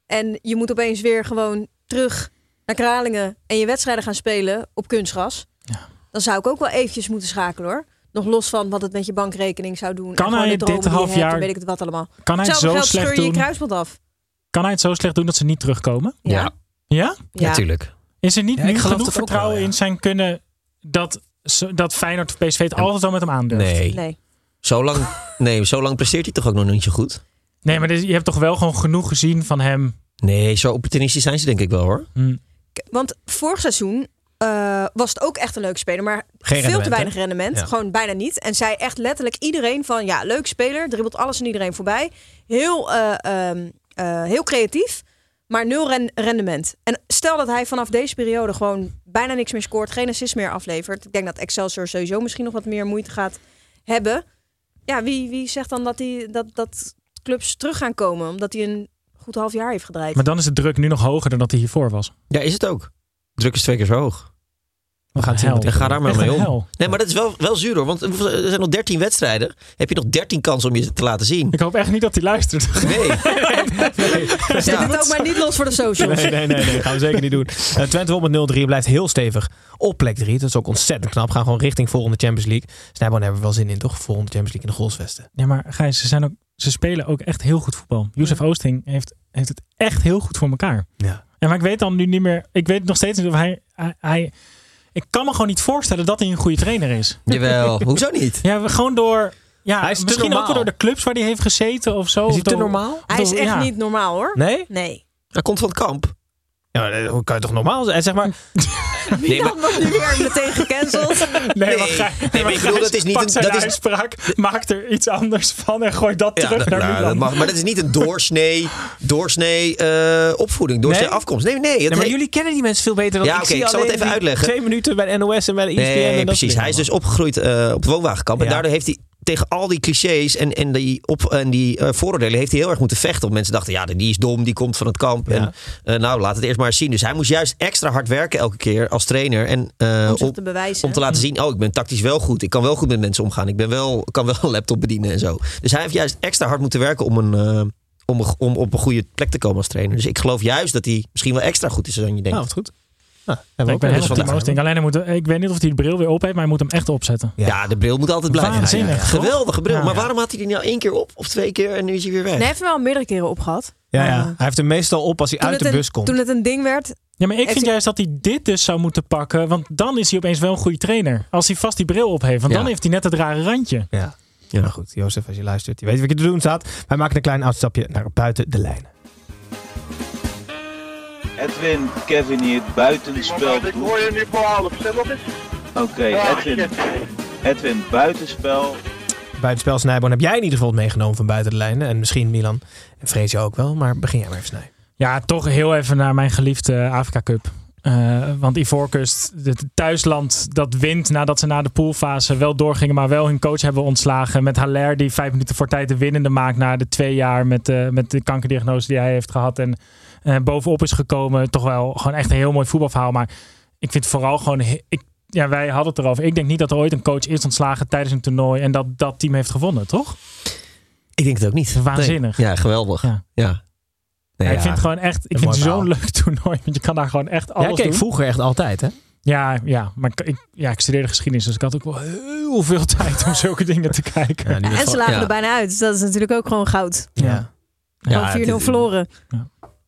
G: En je moet opeens weer gewoon terug naar Kralingen en je wedstrijden gaan spelen op kunstgras.
I: Ja.
G: Dan zou ik ook wel eventjes moeten schakelen hoor. Nog los van wat het met je bankrekening zou doen.
I: Kan
G: en gewoon
I: hij
G: de dromen
I: dit
G: die je
I: half
G: hebt en
I: jaar-
G: weet ik het wat allemaal.
I: Kan hij, het
G: Hetzelfde
I: zo
G: geld scheur
I: slecht
G: je je
I: doen,
G: kruisband af.
I: kan hij het zo slecht doen dat ze niet terugkomen?
H: Ja,
I: Ja?
G: Ja.
H: natuurlijk.
I: Is er niet
B: Ja, ik
I: nu
B: geloof
I: genoeg
B: dat ook
I: vertrouwen
B: wel, ja.
I: in zijn kunnen dat, ze- dat Feyenoord of PSV het altijd wel met hem aandurft?
H: Nee.
G: Nee.
H: Zolang, nee, zolang presteert hij toch ook nog niet zo goed?
I: Nee, maar dit- je hebt toch wel gewoon genoeg gezien van hem.
H: Nee, zo opportunistisch zijn ze denk ik wel hoor.
B: Hm.
G: Want vorig seizoen eh, was het ook echt een leuke speler, maar veel
B: rendement,
G: te
B: hè?
G: weinig rendement.
B: Ja.
G: Gewoon bijna niet. En zij echt letterlijk iedereen van ja, leuk speler, dribbelt alles en iedereen voorbij. Heel, eh, ehm, eh, heel creatief, maar nul ren- rendement. En stel dat hij vanaf deze periode gewoon bijna niks meer scoort, geen assist meer aflevert. Ik denk dat Excelsior sowieso misschien nog wat meer moeite gaat hebben. Ja, wie, wie zegt dan dat, die, dat, dat clubs terug gaan komen omdat hij een goed half jaar heeft gedraaid?
I: Maar dan is de druk nu nog hoger dan dat hij hiervoor was.
H: Ja, is het ook. Druk is twee keer zo hoog.
I: We
B: gaan het zien wat
H: En ga daar maar mee om.
I: Hel.
H: Nee, maar dat is wel, wel zuur hoor. Want er zijn nog 13 wedstrijden. Heb je nog 13 kansen om je te laten zien?
I: Ik hoop echt niet dat hij luistert.
H: Nee.
G: Zet het ook maar niet los voor de socials.
B: Nee, nee, nee, nee. Gaan we zeker niet doen. Eh, Twente won met 0-3. Blijft heel stevig op plek 3. Dat is ook ontzettend knap. Gaan gewoon richting volgende Champions League. Snijboon hebben we wel zin in, toch? Volgende Champions League in de goalsvesten.
I: Ja, maar Gijs, ze, zijn ook, ze spelen ook echt heel goed voetbal. Jozef Oosting heeft, heeft het echt heel goed voor elkaar.
B: Ja.
I: En maar ik weet dan nu niet meer... Ik weet nog steeds niet of hij... hij, hij- ik kan me gewoon niet voorstellen dat hij een goede trainer is.
H: Jawel. Hoezo niet?
I: Ja, we- gewoon door. Ja,
B: Hij is te
I: misschien ook
B: normaal.
I: wel door de clubs waar hij heeft gezeten of zo.
B: Is
I: Of
B: hij te
I: door-
B: normaal?
G: Hij is
I: Bedoel,
G: echt
I: ja.
G: niet normaal hoor.
B: Nee?
G: Nee.
H: Hij komt van het kamp.
B: Ja,
H: eh,
B: maar dat kan je toch normaal zijn? En Zeg maar,
H: Nee, maar,
G: Dan wordt nu weer meteen gecanceld.
I: Nee,
H: Nee.
I: maar, Gij-
H: Nee,
I: nee,
H: maar ik bedoel,
I: Gijs
H: dat is niet
I: pakt
H: een-
I: zijn
H: dat is-
I: uitspraak, maakt er iets anders van en gooit dat
H: ja,
I: terug
H: dat,
I: naar
H: nou, dat
I: Milan.
H: mag, maar dat is niet een doorsnee, doorsnee eh, opvoeding, doorsnee
B: Nee?
H: afkomst. Nee, nee. Het
B: Nee, maar
H: he-
B: jullie kennen die mensen veel beter dan
H: Ja,
B: ik.
H: oké,
B: zie
H: ik zal het
B: alleen
H: even
B: die
H: uitleggen.
B: Twee minuten bij de NOS en bij de
I: E
B: ESPN. en
H: nee
B: dat
H: precies.
B: soort
H: Hij is
B: dingen
H: dus opgegroeid eh, op het woonwagenkamp.
B: Ja.
H: En daardoor heeft hij tegen al die clichés en, en die, op, en die eh, vooroordelen heeft hij heel erg moeten vechten. Want mensen dachten, ja, die is dom, die komt van het kamp. En, eh, nou, laat het eerst maar eens zien. Dus hij moest juist extra hard werken elke keer als trainer. En, eh,
G: Om zich
H: op-
G: te bewijzen.
H: Om te laten zien, oh, ik ben tactisch wel goed. Ik kan wel goed met mensen omgaan. Ik ben wel, kan wel een laptop bedienen en zo. Dus hij heeft juist extra hard moeten werken om een, eh, om, een- om op een goede plek te komen als trainer. Dus ik geloof juist dat hij misschien wel extra goed is dan je
I: Oh.
H: denkt.
B: Nou, wat goed.
I: ik
H: wel
I: ben helemaal
H: eens
I: Team
H: vandaag.
I: Oosting. Alleen hij moet, ik weet niet of hij de bril weer op heeft, maar hij moet hem echt opzetten.
H: ja. de bril moet altijd blijven.
I: Waanzinnig, toch?
H: Geweldige bril.
I: Ja.
H: maar waarom had hij die nou één keer op of twee keer en nu is hij weer weg?
G: Nee, heeft hem wel meerdere keren opgehad.
B: Ja, ja.
G: Maar,
B: Hij heeft hem meestal op als hij
G: Toen
B: uit
G: het,
B: de
G: een,
B: bus komt.
G: toen het een ding werd,
I: Ja, maar ik
G: Heeft
I: vind
G: hij-
I: juist dat hij dit dus zou moeten pakken. Want dan is hij opeens wel een goede trainer. Als hij vast die bril op heeft. Want
H: Ja.
I: dan heeft hij net het rare randje.
B: Ja. ja. Maar goed, Jozef, als je luistert, je weet wat je te doen staat. Wij maken een klein uitstapje naar buiten de lijnen.
J: Edwin, Kevin hier, buitenspel.
F: Ik hoor je nu voor half. Zeg wat is
J: Oké, Edwin. Edwin, buitenspel.
B: Buitenspel Snijboon heb jij in ieder geval het meegenomen van buiten de lijnen. En misschien Milan en Freesje ook wel. Maar begin jij maar even, Snij.
I: Ja, toch heel even naar mijn geliefde Afrika Cup. Eh, want Ivoorkust, het thuisland dat wint nadat ze na de poolfase wel doorgingen, maar wel hun coach hebben ontslagen. Met Haller die vijf minuten voor tijd de winnende maakt na de twee jaar met, eh, met de kankerdiagnose die hij heeft gehad. En eh, bovenop is gekomen. Toch wel gewoon echt een heel mooi voetbalverhaal. Maar ik vind vooral gewoon... he- Ik, ja, wij hadden het erover. Ik denk niet dat er ooit een coach is ontslagen tijdens een toernooi en dat dat team heeft gewonnen, toch?
H: Ik denk het ook niet.
I: Waanzinnig.
H: Nee. Ja, geweldig.
I: Ja.
H: Ja. Nee,
I: Ja, ik
H: ja.
I: vind het gewoon echt... Ik
B: Een
I: vind het
B: mooi
I: zo'n leuk toernooi. Want je kan daar gewoon echt alles
B: jij keek
I: doen.
B: vroeger echt altijd, hè?
I: Ja, ja, maar ik- ik, ja, ik studeerde geschiedenis, dus ik had ook wel heel veel tijd om zulke dingen te kijken.
B: Ja, nu
G: en ze lagen
H: ja.
G: er bijna uit. Dus dat is natuurlijk ook gewoon goud.
B: Ja.
H: Ja,
G: Gewoon 4-0
H: het is-
G: verloren.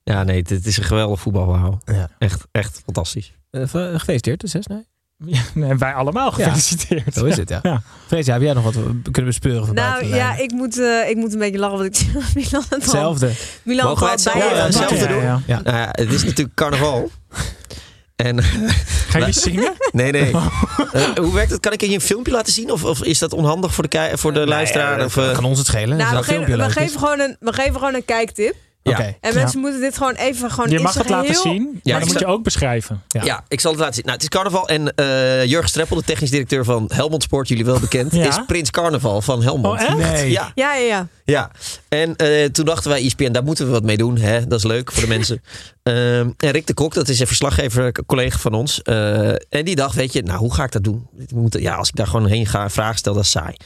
H: Ja, nee, het is een geweldig voetbalverhaal.
B: Ja.
H: Echt, echt fantastisch.
B: Eh, ge- Gefeliciteerd, dus, hè, Snij?
I: Ja, en wij allemaal
B: Ja.
I: gefeliciteerd.
B: Zo is het, ja.
I: Ja.
B: Freesje, heb jij nog wat we kunnen bespeuren van
G: Nou
B: buiten de lijnen?
G: ja, ik moet, eh, ik moet een beetje lachen, want ik Milan het al-
B: Hetzelfde.
G: Milan
H: Mogen wij
G: had
H: het
G: bij
H: zelf-
G: je
H: ja,
G: gepakt.
H: hetzelfde doen?
I: ja.
B: Ja.
H: Nou ja, het is natuurlijk carnaval. En
I: Ga je zingen?
H: nee, nee. Eh, hoe werkt het? Kan ik je een filmpje laten zien? Of, of is dat onhandig voor de, kei- voor de luisteraar?
B: Nee,
H: of, eh,
B: kan ons het schelen.
G: Nou, we,
B: Als dat
G: geven,
B: filmpje
G: we,
B: leuk is.
G: geven gewoon een, we geven gewoon een kijktip.
H: ja.
B: Oké.
G: En
I: Ja.
G: mensen moeten dit gewoon even gewoon
I: Je
G: in
I: mag
G: zijn
I: het laten
G: geheel-
I: zien, maar
H: ik
I: dan moet
H: sta-
I: je ook beschrijven.
B: Ja.
H: Ja. ik zal het laten zien. Nou, het is carnaval en eh Jurgen Streppel, de technisch directeur van Helmond Sport, jullie wel bekend,
I: Ja.
H: is prins carnaval van Helmond.
I: Oh, echt?
B: Nee.
H: Ja,
G: Ja, ja, ja.
H: ja. En eh, toen dachten wij, ESPN, daar moeten we wat mee doen. Hè? Dat is leuk voor de mensen. Ehm, en Rick de Kok, dat is een verslaggever, een collega van ons. eh, en die dacht, weet je, nou, hoe ga ik dat doen? Dit moet- ja, als ik daar gewoon heen ga en vragen stel, dat is saai.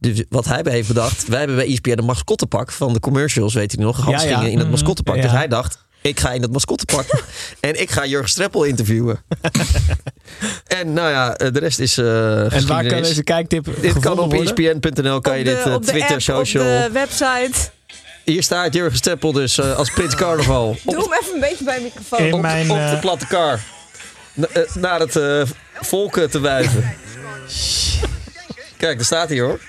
H: Dus wat hij heeft bedacht, wij hebben bij E ESPN een mascottepak van de commercials, weet je nog, handschoenen
B: ja. Mhm.
H: in dat mascottepak.
B: Ja.
H: Dus hij dacht, ik ga in dat mascottepak en ik ga Jurgen Streppel interviewen. en nou ja, eh, de rest is eh
B: En waar
H: geschiedenis.
B: kan deze kijktip
H: Dit kan
B: gevonden
H: op E
B: worden?
H: ESPN.nl, kan je
G: op de,
H: dit eh,
G: op de
H: Twitter,
G: app,
H: social.
G: op de website.
H: Hier staat Jurgen Streppel dus eh, als Prins Carnaval. op,
G: Doe hem even een beetje bij de microfoon.
I: In
H: op-
I: mijn,
H: op
I: eh,
H: de platte kar. Na- eh, naar het eh, volken te wuiven. Kijk, daar staat hij hoor.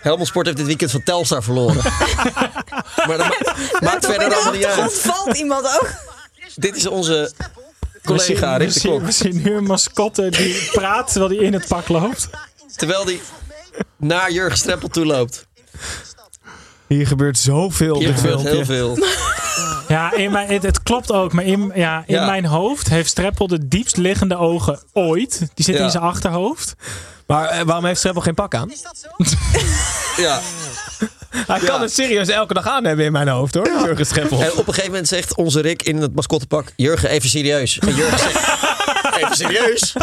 H: Helmond Sport heeft dit weekend van Telstar verloren. maar dat ma- maakt
G: Let op, in
H: verder
G: de
H: allemaal niet
G: achtergrond
H: uit.
G: valt iemand ook.
H: Dit is onze
I: We zien-
H: collega
I: we
H: Rick de
I: zien,
H: Kok.
I: we zien nu een mascotte die praat terwijl hij in het pak loopt.
H: Terwijl hij naar Jurgen Streppel toe loopt.
B: Hier gebeurt zoveel op
H: Hier
B: dit
H: gebeurt
B: filmpje.
H: heel veel.
I: Ja, in mijn, het, het klopt ook, maar in, ja, in
H: Ja.
I: mijn hoofd heeft Streppel de diepst liggende ogen ooit. Die zitten
H: Ja.
I: in zijn achterhoofd.
B: Maar eh, waarom heeft Streppel geen pak aan?
H: Ja.
B: Hij kan het serieus elke dag aan hebben in mijn hoofd hoor, Jurgen Streppel.
H: En op een gegeven moment zegt onze Rick in het mascottepak... Jurgen, even serieus. En Jurgen zegt... Even serieus?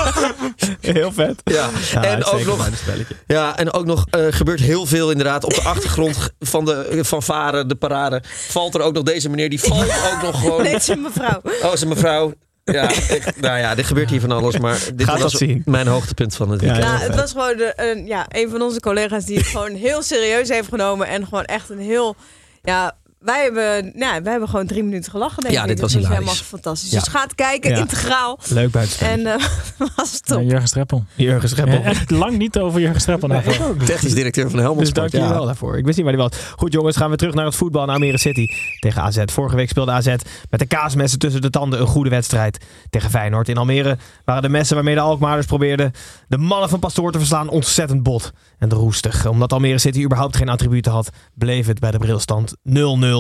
B: Heel vet.
H: Ja. en, ook
B: uitstekend
H: nog,
B: bij dit spelletje.
H: ja, en ook nog eh, gebeurt heel veel inderdaad. Op de achtergrond van de fanfare, de parade... valt er ook nog deze meneer. Die valt ook nog gewoon...
G: Nee, het is een mevrouw.
H: Oh, is een mevrouw. Ja, ik- nou ja, dit gebeurt hier van alles. Maar dit
B: Gaat
H: was
B: dat zien.
H: mijn hoogtepunt van het
B: Ja,
H: weekend.
G: Nou,
B: heel
G: het was gewoon de, een, ja, een van onze collega's die het gewoon heel serieus heeft genomen. En gewoon echt een heel. Ja, wij hebben, nou, wij hebben gewoon drie minuten gelachen. Denk
H: Ja,
G: ik.
H: dit was
G: dat is
H: hilarisch.
G: helemaal fantastisch.
H: Ja.
G: Dus gaat kijken,
B: Ja.
G: integraal.
B: Leuk buitenspel.
G: En eh, was top.
I: Ja, Jurgen Streppel.
B: Jurgen Streppel.
I: Ja, echt lang niet over Jurgen Streppel.
B: Nee,
I: nagedacht.
B: ik ook niet.
H: Technisch directeur van Helmond
B: Dus
H: Sport.
B: dank je
H: ja.
B: wel daarvoor. Ik wist niet waar die was. Goed jongens, gaan we terug naar het voetbal naar Almere City tegen AZ. Vorige week speelde AZ met de kaasmessen tussen de tanden een goede wedstrijd tegen Feyenoord. In Almere waren de messen waarmee de Alkmaarders probeerden de mannen van Pastoor te verslaan ontzettend bot en roestig. Omdat Almere City überhaupt geen attributen had, bleef het bij de brilstand 0-0.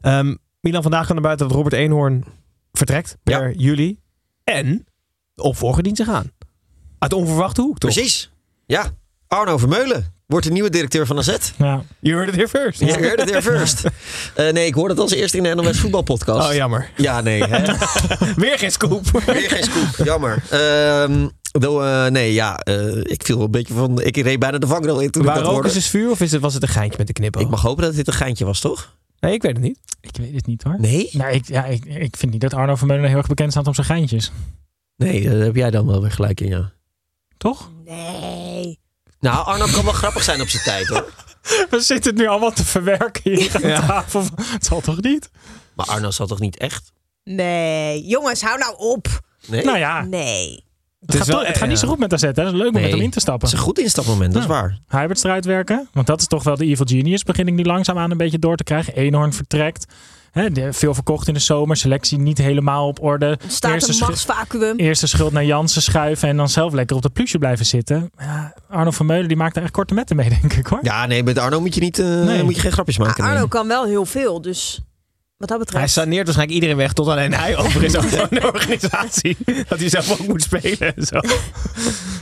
B: Ehm, Milan vandaag kan er buiten dat Robert Eenhoorn vertrekt per juli. En de opvolger dient zich aan. Uit onverwachte hoek, toch?
H: Precies. Ja, Arno Vermeulen wordt de nieuwe directeur van AZ.
I: Ja.
B: You heard it here first.
H: Je heard it here first. Eh, nee, ik hoorde het als eerste in de NOS voetbalpodcast.
B: Oh, jammer.
H: Ja, nee. Hè?
B: Weer geen scoop.
H: Weer geen scoop. Jammer. Ehm, though, eh, nee, ja. eh, ik viel wel een beetje van... Ik reed bijna de vangrail in toen ik
B: Waar
H: dat
B: rook
H: hoorde.
B: is het vuur of is het, was het een geintje met de knippen?
H: Ik mag hopen dat dit een geintje was, toch?
B: Nee, ik weet het niet.
I: Ik weet het niet hoor.
H: Nee?
I: Nou, ik, ja, ik, ik vind niet dat Arno van Meulen heel erg bekend staat om zijn geintjes.
H: Nee, daar heb jij dan wel weer gelijk in, ja.
I: Toch?
G: Nee.
H: Nou, Arno kan wel grappig zijn op zijn tijd, hoor.
I: We zitten het nu allemaal te verwerken hier aan
H: Ja.
I: tafel. Het zal toch niet?
H: Maar Arno zal toch niet echt?
G: Nee, jongens, hou nou op.
H: Nee.
I: Nou ja,
G: Nee.
I: het, gaat, toch- het gaat niet zo goed met AZ. Hè? Het is leuk om met hem in te stappen.
H: Het is een goed instapmoment, dat is waar.
I: Hybrids eruit werken. Want dat is toch wel de evil genius. Begin ik nu langzaamaan een beetje door te krijgen. Eenhoorn vertrekt. Hè, de- veel verkocht in de zomer. Selectie niet helemaal op orde.
G: Staat een
I: schu-
G: machtsvacuum.
I: eerste schuld naar Jansen schuiven. En dan zelf lekker op de plusje blijven zitten. Ja, Arno van Meulen die maakt er echt korte metten mee, denk ik hoor.
H: Ja, nee, met Arno moet je, niet, eh,
I: Nee.
H: moet je geen grapjes maken. nee.
G: Arno kan wel heel veel, dus wat dat
B: Hij
G: betreft.
B: saneert waarschijnlijk iedereen weg tot alleen hij over is over de organisatie. Dat hij zelf ook moet spelen en zo.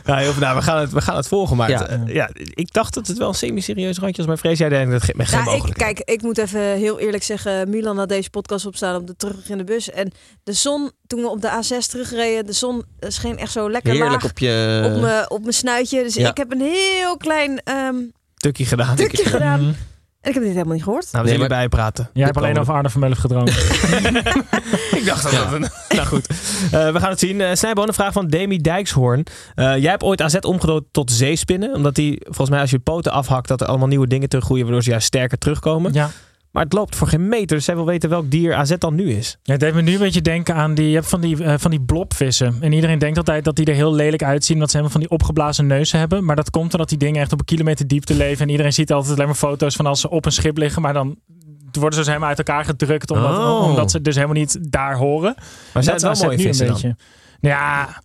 B: Nou, heel veel- nou, we, gaan het, we gaan het volgen. Maar
H: Ja.
B: het, eh, ja, ik dacht dat het wel een semi-serieus randje was. Maar vrees jij denkt dat het geen
I: Nou,
G: Ja, Nou, ik,
B: mogelijk
G: kijk, ik moet even heel eerlijk zeggen, Milan had deze podcast opstaan op de terug in de bus. En de zon, toen we op de A6 terugreden, de zon scheen echt zo lekker
H: Heerlijk
G: laag
H: op je...
G: op mijn- op mijn snuitje. Dus
H: Ja.
G: ik heb een heel klein ehm
B: tukkie gedaan.
G: tukje gedaan.
I: Mhm.
G: En ik heb dit helemaal niet gehoord.
B: Nou, we
H: Nee,
B: zullen bijpraten.
I: Jij hebt alleen over Arno van Meulen gedroomd.
B: Ik dacht dat dat een- Nou goed, Eh, we gaan het zien. Eh Snijboon, een vraag van Demi Dijkshoorn. Eh, jij hebt ooit AZ omgedoopt tot zeespinnen. Omdat die, volgens mij als je poten afhakt, dat er allemaal nieuwe dingen teruggroeien. Waardoor ze juist sterker terugkomen.
I: ja.
B: Maar het loopt voor geen meter. Dus zij wil weten welk dier AZ dan nu is.
I: Ja, het deed me nu een beetje denken aan die, je hebt van die, eh, van die blobvissen. En iedereen denkt altijd dat die er heel lelijk uitzien, omdat ze helemaal van die opgeblazen neuzen hebben. Maar dat komt omdat die dingen echt op een kilometer diepte leven. En iedereen ziet altijd alleen maar foto's van als ze op een schip liggen, maar dan worden ze dus helemaal uit elkaar gedrukt, omdat,
B: Oh.
I: omdat ze dus helemaal niet daar horen.
B: Maar zijn
I: Dat
B: het wel
I: is
B: mooie
I: nu
B: vissen dan?
I: Ja,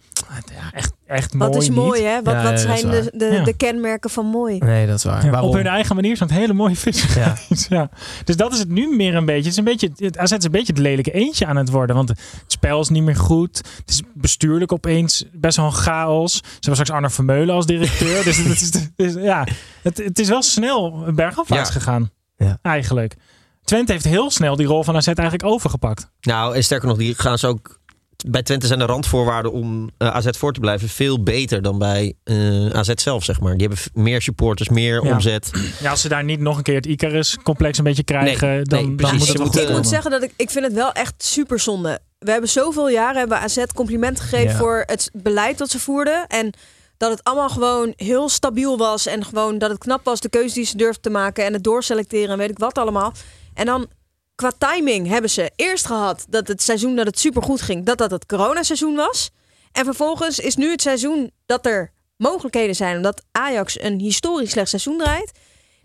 I: ja, echt, echt mooi
G: Wat is mooi,
I: niet.
G: hè?
B: Ja,
G: Wat, wat
B: ja, dat is
G: zijn de,
B: waar.
G: de,
I: Ja.
G: de kenmerken van mooi?
B: Nee, dat is waar.
I: Ja,
B: Waarom?
I: op hun eigen manier zijn het hele mooie vissen.
B: Ja.
I: Ja. Dus dat is het nu meer een beetje. Het, is een beetje. het AZ is een beetje het lelijke eentje aan het worden. Want het spel is niet meer goed. Het is bestuurlijk opeens best wel een chaos. Ze hebben straks Arno Vermeulen als directeur. dus het is, het is- ja, het, het is wel snel bergafwaarts
H: Ja.
I: gegaan.
B: Ja.
I: Eigenlijk. Twente heeft heel snel die rol van AZ eigenlijk overgepakt.
H: Nou, en sterker nog, die gaan ze ook... Bij Twente zijn de randvoorwaarden om eh, AZ voor te blijven veel beter dan bij eh, AZ zelf, zeg maar. Die hebben v- meer supporters, meer
I: Ja.
H: omzet.
I: Ja, als ze daar niet nog een keer het Icarus-complex een beetje krijgen,
H: Nee,
I: dan,
H: nee,
I: dan
H: precies.
I: moet
H: Ze
I: het wel
H: moeten-
I: goed
G: Ik moet
I: komen.
G: zeggen dat ik, ik vind het wel echt super zonde. We hebben zoveel jaren hebben we AZ compliment gegeven
B: Ja.
G: voor het beleid dat ze voerden. En dat het allemaal gewoon heel stabiel was. En gewoon dat het knap was, de keuze die ze durfden te maken. En het doorselecteren en weet ik wat allemaal. En dan qua timing hebben ze eerst gehad dat het seizoen dat het super goed ging, dat dat het coronaseizoen was. En vervolgens is nu het seizoen dat er mogelijkheden zijn. Omdat Ajax een historisch slecht seizoen draait.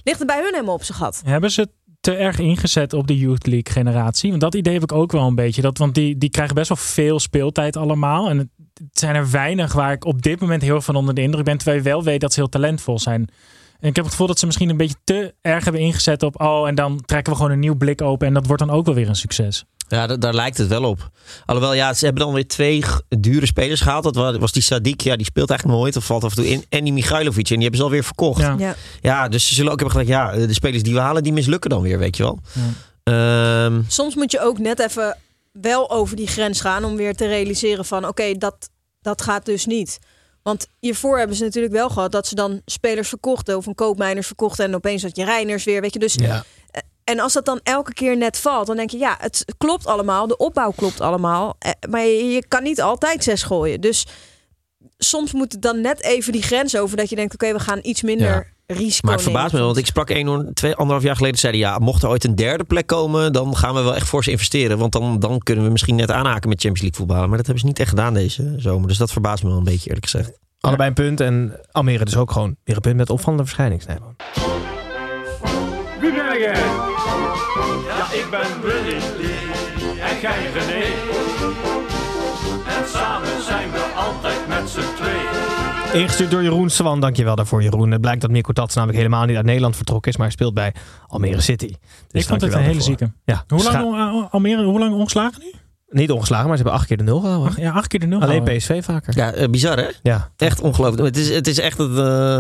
G: Ligt er bij hun helemaal op zijn gat.
I: Hebben ze te erg ingezet op de Youth League generatie? Want dat idee heb ik ook wel een beetje. Dat, want die, die krijgen best wel veel speeltijd allemaal. En het, het zijn er weinig waar ik op dit moment heel erg van onder de indruk ben. Terwijl je wel weet dat ze heel talentvol zijn. En ik heb het gevoel dat ze misschien een beetje te erg hebben ingezet op... oh, en dan trekken we gewoon een nieuw blik open... en dat wordt dan ook wel weer een succes.
H: Ja, da- daar lijkt het wel op. Alhoewel, ja, ze hebben dan weer twee g- dure spelers gehaald. Dat wa- was die Sadik, ja, die speelt eigenlijk nooit. Of valt af en toe in. En die Michailovic, en die hebben ze alweer verkocht. Ja,
I: Ja.
G: Ja.
H: dus ze zullen ook hebben gedacht, ja, de spelers die we halen, die mislukken dan weer, weet je wel. Ehm,
G: soms moet je ook net even wel over die grens gaan om weer te realiseren van oké, dat, dat gaat dus niet. Want hiervoor hebben ze natuurlijk wel gehad dat ze dan spelers verkochten of een koopmijners verkochten en opeens had je Reiners weer, weet je. Dus,
B: Ja.
G: En als dat dan elke keer net valt, dan denk je ja, het klopt allemaal, de opbouw klopt allemaal, eh, maar je, je kan niet altijd zes gooien. Dus soms moet het dan net even die grens over dat je denkt oké, we gaan iets minder risico
H: maar het
G: nemen.
H: verbaast me, want ik sprak een, twee, anderhalf jaar geleden. Zeiden ja, mocht er ooit een derde plek komen, dan gaan we wel echt fors investeren. Want dan, dan kunnen we misschien net aanhaken met Champions League voetballen. Maar dat hebben ze niet echt gedaan deze zomer. Dus dat verbaast me wel een beetje, eerlijk gezegd.
B: Allebei een punt. En Almere dus ook gewoon weer een punt met opvallende verschijning, Snijboon.
F: Wie ben ik? Ja, ik ben Willy Lee en jij René. En samen zijn we altijd met z'n tweeën.
B: Ingestuurd door Jeroen Swan. Dankjewel daarvoor, Jeroen. Het blijkt dat Mirko Tats namelijk helemaal niet uit Nederland vertrokken is, maar hij speelt bij Almere City. Dus
I: ik vond het
B: dankjewel
I: een hele
B: daarvoor.
I: zieke.
B: Ja.
I: Hoe
B: Scha-
I: lang, on- Almere, hoe lang ongeslagen nu?
B: Niet ongeslagen, maar ze hebben acht keer de nul gehouden.
I: Ja, acht keer de nul. Oh,
B: Alleen
I: houden.
B: PSV vaker.
H: Ja, eh, bizar hè?
B: Ja.
H: Echt ongelooflijk. Het is, het is echt het... eh,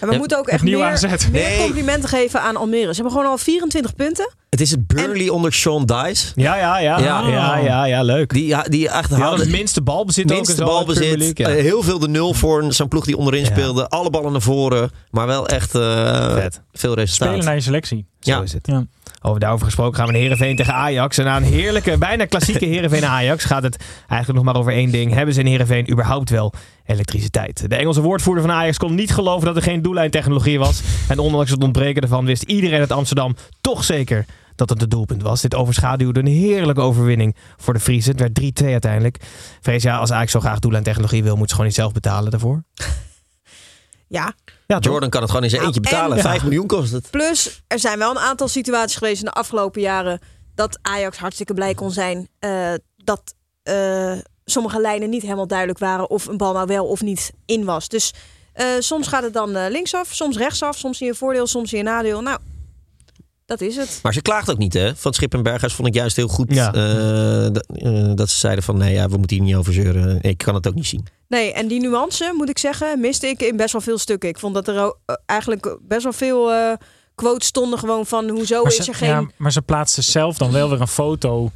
G: En we
H: Ja,
G: moeten ook echt
I: opnieuw
G: meer,
I: AZ.
G: meer
H: Nee.
G: complimenten geven aan Almere. Ze hebben gewoon al 24 punten.
H: Het is het Burnley onder Sean Dice.
B: Ja, ja, ja. Ja,
H: Ja.
B: ja, ja, leuk. Die,
H: Die, ja, die echt
B: hadden het
H: houden.
B: minste balbezit ook. en
H: Minste
B: zo in de
H: balbezit.
B: Premier League,
H: eh,
B: Ja.
H: heel veel de nul voor een- zo'n ploeg die onderin
B: Ja.
H: speelde. Alle ballen naar voren. Maar wel echt eh,
B: Vet.
H: veel resultaat.
I: Spelen naar je selectie.
B: Zo
H: ja.
B: is het.
I: Ja.
B: Over daarover gesproken gaan we naar Heerenveen tegen Ajax. En na een heerlijke, bijna klassieke Heerenveen-Ajax gaat het eigenlijk nog maar over één ding. Hebben ze in Heerenveen überhaupt wel elektriciteit? De Engelse woordvoerder van Ajax kon niet geloven dat er geen doellijntechnologie was. En ondanks het ontbreken ervan wist iedereen uit Amsterdam toch zeker dat het het doelpunt was. Dit overschaduwde een heerlijke overwinning voor de Friese. Het werd 3-2 uiteindelijk. Vrees, ja, als Ajax zo graag doellijntechnologie wil, moet ze gewoon niet zelf betalen daarvoor.
G: Ja.
B: Ja, toch?
H: Jordan kan het gewoon in zijn eentje
G: Nou,
H: betalen.
G: en-
H: 5 miljoen kost het.
G: Plus, er zijn wel een aantal situaties geweest in de afgelopen jaren dat Ajax hartstikke blij kon zijn eh, dat eh, sommige lijnen niet helemaal duidelijk waren of een bal nou wel of niet in was. Dus eh, soms gaat het dan eh, linksaf, soms rechtsaf, soms in je voordeel, soms in je nadeel. Nou, dat is het.
H: Maar ze klaagt ook niet, hè? Van Schippenbergers vond ik juist heel goed
B: Ja.
H: eh, dat- eh, dat ze zeiden van... nee, ja, we moeten hier niet over zeuren. Ik kan het ook niet zien.
G: Nee, en die nuance, moet ik zeggen, miste ik in best wel veel stukken. Ik vond dat er ook, eh, eigenlijk best wel veel eh, quotes stonden gewoon van hoezo
I: Maar
G: is
I: ze-
G: er geen...
I: ja, maar ze plaatsen zelf dan wel weer een foto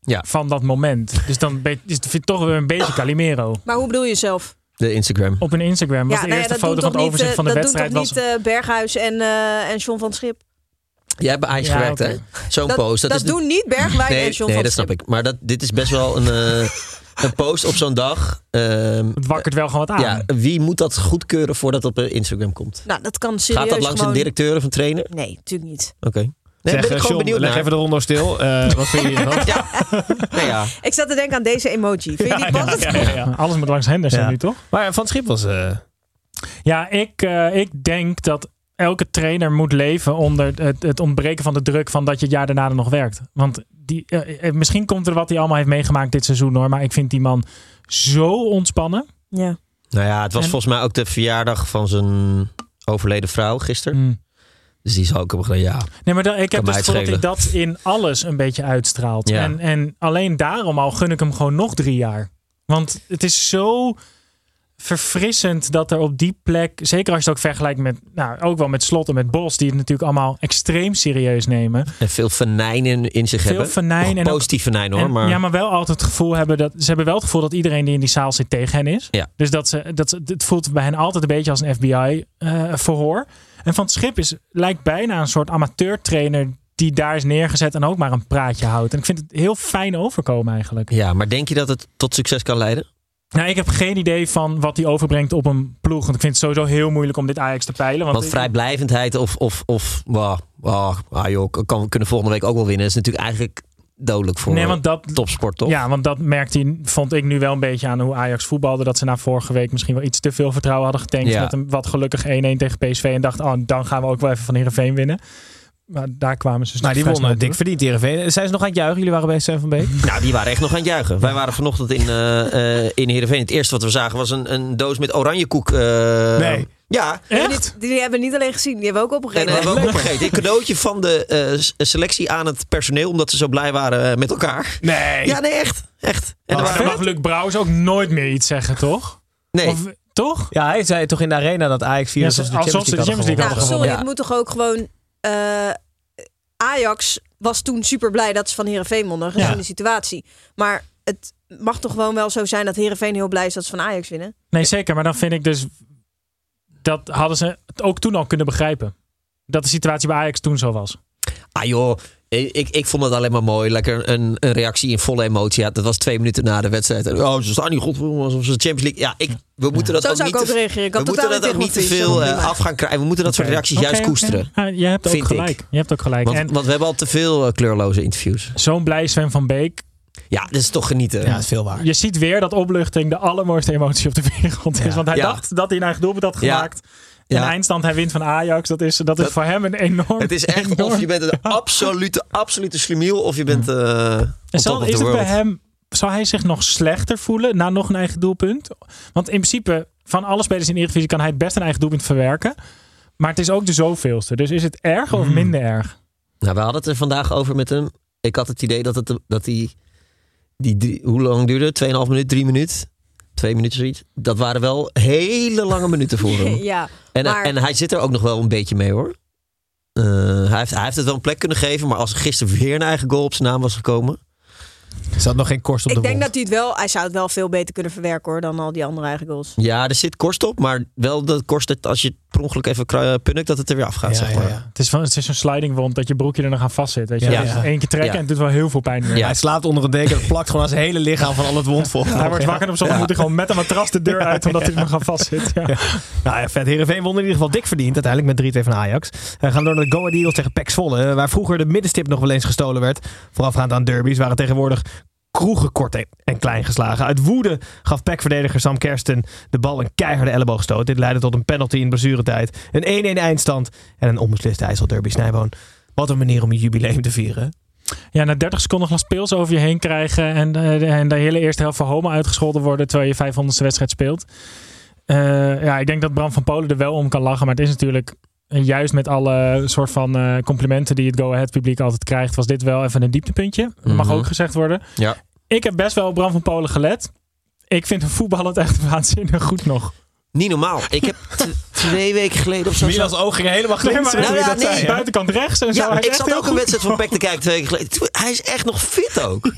H: Ja.
I: van dat moment. Dus dan ben- is het toch weer een beetje Calimero.
G: Maar hoe bedoel je zelf?
H: De Instagram.
I: Op een Instagram was
G: ja, nou
I: de
G: ja,
I: eerste
G: dat
I: foto
G: doet
I: van het
G: toch niet,
I: overzicht
G: eh,
I: van de
G: dat
I: wedstrijd.
G: doet toch
I: Was,
G: niet eh, Berghuis en, eh, en John van het Schip?
H: Jij hebt bij Ajax
I: Ja,
H: gewerkt,
I: oké.
H: hè? Zo'n
G: dat
H: post.
G: dat,
H: is de-
G: doen niet Bergwijn
H: Nee,
G: en John
H: nee
G: van
H: dat
G: het
H: snap
G: Schip.
H: ik. Maar dat, dit is best wel een, eh, een post op zo'n dag. Ehm,
I: het wakkert wel gewoon wat aan.
H: ja, wie moet dat goedkeuren voordat het op eh, Instagram komt?
G: Nou, dat kan serieus
H: Gaat dat langs
G: gewoon...
H: een directeur of een trainer? Oké.
G: Nee, natuurlijk niet.
H: Nee,
B: zeg,
H: ben ik
B: eh,
H: gewoon
B: John,
H: benieuwd
B: leg
H: naar.
B: even de ronde stil. Eh, wat vind je hiervan?
H: Nou ja.
G: Ik zat te denken aan deze emoji. Vind je die passend?
B: ja, ja, ja.
I: Alles moet langs Henderson
B: Ja.
I: nu, toch?
B: Maar Van Schip was... eh,
I: Ja, ik, eh, ik denk dat elke trainer moet leven onder het, het ontbreken van de druk van dat je het jaar daarna er nog werkt. Want die, eh, eh, misschien komt er wat hij allemaal heeft meegemaakt dit seizoen hoor. Maar ik vind die man zo ontspannen.
G: Ja.
H: nou ja, het was
I: En-
H: volgens mij ook de verjaardag van zijn overleden vrouw gisteren.
G: Mm.
H: Dus die zal ook hebben gedaan, ja.
I: Nee, maar dan, ik heb
H: mij
I: dus
H: het
I: het gevoel dat hij dat in alles een beetje uitstraalt.
H: Ja.
I: En, en alleen daarom al gun ik hem gewoon nog drie jaar. Want het is zo verfrissend dat er op die plek, zeker als je het ook vergelijkt met, nou ook wel met Slot en met Bos, die het natuurlijk allemaal extreem serieus nemen.
H: En veel venijn in, in zich
I: Veel
H: hebben.
I: venijn
H: Nog
I: en ook-
H: positief venijn hoor.
I: En-
H: maar,
I: Ja, maar wel altijd het gevoel hebben dat ze hebben wel het gevoel dat iedereen die in die zaal zit tegen hen is.
H: Ja.
I: Dus dat ze, dat ze, het voelt bij hen altijd een beetje als een FBI-verhoor. eh, en van het schip is, lijkt bijna een soort amateurtrainer die daar is neergezet en ook maar een praatje houdt. En ik vind het heel fijn overkomen eigenlijk.
H: ja, maar denk je dat het tot succes kan leiden?
I: Nou, ik heb geen idee van wat hij overbrengt op een ploeg. Want ik vind het sowieso heel moeilijk om dit Ajax te peilen. Want,
H: Want vrijblijvendheid of, of, of wah, wah, ah joh, kan, kunnen we volgende week ook wel winnen. is natuurlijk eigenlijk dodelijk voor
I: Nee, want dat,
H: topsport, toch?
I: Ja, want dat merkte hij, vond ik nu wel een beetje aan hoe Ajax voetbalde. Dat ze na vorige week misschien wel iets te veel vertrouwen hadden getankt.
H: Ja.
I: Met een wat gelukkig 1-1 tegen PSV. En dacht, oh, dan gaan we ook wel even van Heerenveen winnen. Maar daar kwamen ze dus
B: nou, die
I: vrij snel
B: wonnen. Dik
I: door.
B: verdiend, Heerenveen. Zijn ze nog aan het juichen? Jullie waren bij Sven van Beek?
H: Nou, die waren echt nog aan het juichen. Wij waren vanochtend in, eh eh in Heerenveen. Het eerste wat we zagen was een, een doos met oranjekoek. eh,
B: Nee.
H: Ja,
I: Echt?
G: Die hebben we niet alleen gezien, die hebben we ook
H: en dat
G: opgegeven.
H: hebben we ook opgegeten. Een cadeautje van de eh, s- selectie aan het personeel, omdat ze zo blij waren eh, met elkaar.
B: Nee.
H: Ja, nee, echt. Echt. En er
I: Maar dan
H: waren,
I: mag Luc Brouwers ook nooit meer iets zeggen, toch?
H: nee,
I: Of, toch?
B: Ja, hij zei toch in de arena dat Ajax 4
I: Ja,
B: was
I: ze-
B: als de
I: alsof
B: Champions
I: ze de
B: League
I: Champions League
B: hadden
G: nou,
I: hadden
G: sorry,
I: gewonnen.
G: het moet toch ook gewoon... eh, Ajax was toen super blij dat ze van Heerenveen wonnen, gezien
I: Ja.
G: de situatie. Maar het mag toch gewoon wel zo zijn dat Heerenveen heel blij is dat ze van Ajax winnen?
I: Nee, zeker. Maar dan vind ik dus... Dat hadden ze het ook toen al kunnen begrijpen. Dat de situatie bij Ajax toen zo was.
H: Ah joh, ik, ik- ik vond dat alleen maar mooi. Lekker een, een reactie in volle emotie. Ja, dat was twee minuten na de wedstrijd. En, Oh, ze staan niet goed. Alsof ze de Champions League... Ja, ik, we moeten dat
G: Zo
H: ook
G: zou
H: niet
G: ik ook
H: te-
G: reageren. Ik had
H: we moeten
G: totaal
H: dat ook niet te veel eh, af gaan krijgen. We moeten dat soort reacties
I: Oké,
H: juist
I: oké.
H: koesteren.
I: Ja, je hebt ook
H: Vind ik.
I: gelijk. Je hebt ook gelijk.
H: Want,
I: en
H: want we hebben al te veel eh, kleurloze interviews.
I: zo'n blij Sven van Beek
H: Ja, dat is toch genieten.
B: Ja, dat is veel waar.
I: Je ziet weer dat opluchting de allermooiste emotie op de wereld is.
B: Ja.
I: Want hij
H: Ja.
I: dacht dat hij een eigen doelpunt had
H: Ja.
I: gemaakt.
H: Ja.
I: En eindstand hij wint van Ajax. Dat is, dat is
H: Dat-
I: voor hem een enorm...
H: Het is echt
I: enorm-
H: of je bent een absolute, absolute slimiel of je bent eh
I: En
H: on top
I: zal,
H: of the
I: is het bij
H: world.
I: hem... Zou hij zich nog slechter voelen na nog een eigen doelpunt? Want in principe, van alle spelers in de Eredivisie kan hij het best een eigen doelpunt verwerken. Maar het is ook de zoveelste. Dus is het erg
H: Mm.
I: of minder erg?
H: Nou, we hadden het er vandaag over met hem. Ik had het idee dat, het, dat die, die drie- hoe lang duurde het? 2,5 minuut, 3 minuut? 2 minuten zoiets. Dat waren wel hele lange minuten voor hem.
G: Ja,
H: En,
G: maar-
H: en hij zit er ook nog wel een beetje mee hoor. Eh, hij, heeft, hij heeft het wel een plek kunnen geven, maar als er gisteren weer een eigen goal op zijn naam was gekomen.
B: Ze had nog geen korst op
G: ik
B: de
G: denk
B: wond.
G: dat hij het wel... Hij zou het wel veel beter kunnen verwerken hoor, dan al die andere eigen goals.
H: Ja, er zit korst op, maar wel dat kost het als je per ongeluk even kru- punnik dat het er weer afgaat. zeg maar.
I: Het is, van, het is zo'n sliding wond dat je broekje er nog aan vast zit. Weet je?
H: Ja.
I: Dus één keer trekken
H: Ja.
I: en het doet wel heel veel pijn. weer.
B: Hij slaapt onder een deken, dat plakt gewoon aan zijn hele lichaam van al het wondvocht.
I: Hij wordt wakker en op zondag moet hij gewoon met een matras de deur uit omdat hij er nog aan vast zit. Ja.
B: Nou ja, vet. Heerenveen won in ieder geval dik verdiend. Uiteindelijk met 3-2 van Ajax. We gaan door naar de Go Ahead Eagles tegen PEC Zwolle. eh, Waar vroeger de middenstip nog wel eens gestolen werd. Voorafgaand aan derbies waren tegenwoordig kroegen kort en- en klein geslagen. Uit woede gaf PEC-verdediger Sam Kersten de bal een keiharde elleboogstoot. Dit leidde tot een penalty in blessuretijd. Een 1-1 eindstand en een onbesliste IJsselderby Snijboon. Wat een manier om je jubileum te vieren.
I: Ja, na 30 seconden glas pils over je heen krijgen. En, eh, de- en de hele eerste helft van Homa uitgescholden worden. terwijl je 500ste wedstrijd speelt. Eh, ja, ik denk dat Bram van Polen er wel om kan lachen. Maar het is natuurlijk. eh, Juist met alle soort van eh, complimenten die het Go-Ahead publiek altijd krijgt, was dit wel even een dieptepuntje. Dat mag
H: Mhm.
I: ook gezegd worden.
H: Ja.
I: Ik heb best wel op Bram van Polen gelet. Ik vind hem voetballend echt waanzinnig goed nog.
H: Niet normaal. Ik heb t- twee weken geleden of zo...
B: Milans ogen gingen helemaal
I: Nee, maar
B: glinsteren toen
H: Nou
B: je
H: ja,
B: dat
H: nee.
B: zei, hè?
I: Buitenkant rechts en zo. Hij
H: Ja,
I: is
H: ik
I: echt
H: zat
I: heel
H: ook een
I: goed.
H: wedstrijd van Peck te kijken twee weken geleden. Toen- Hij is echt nog fit ook.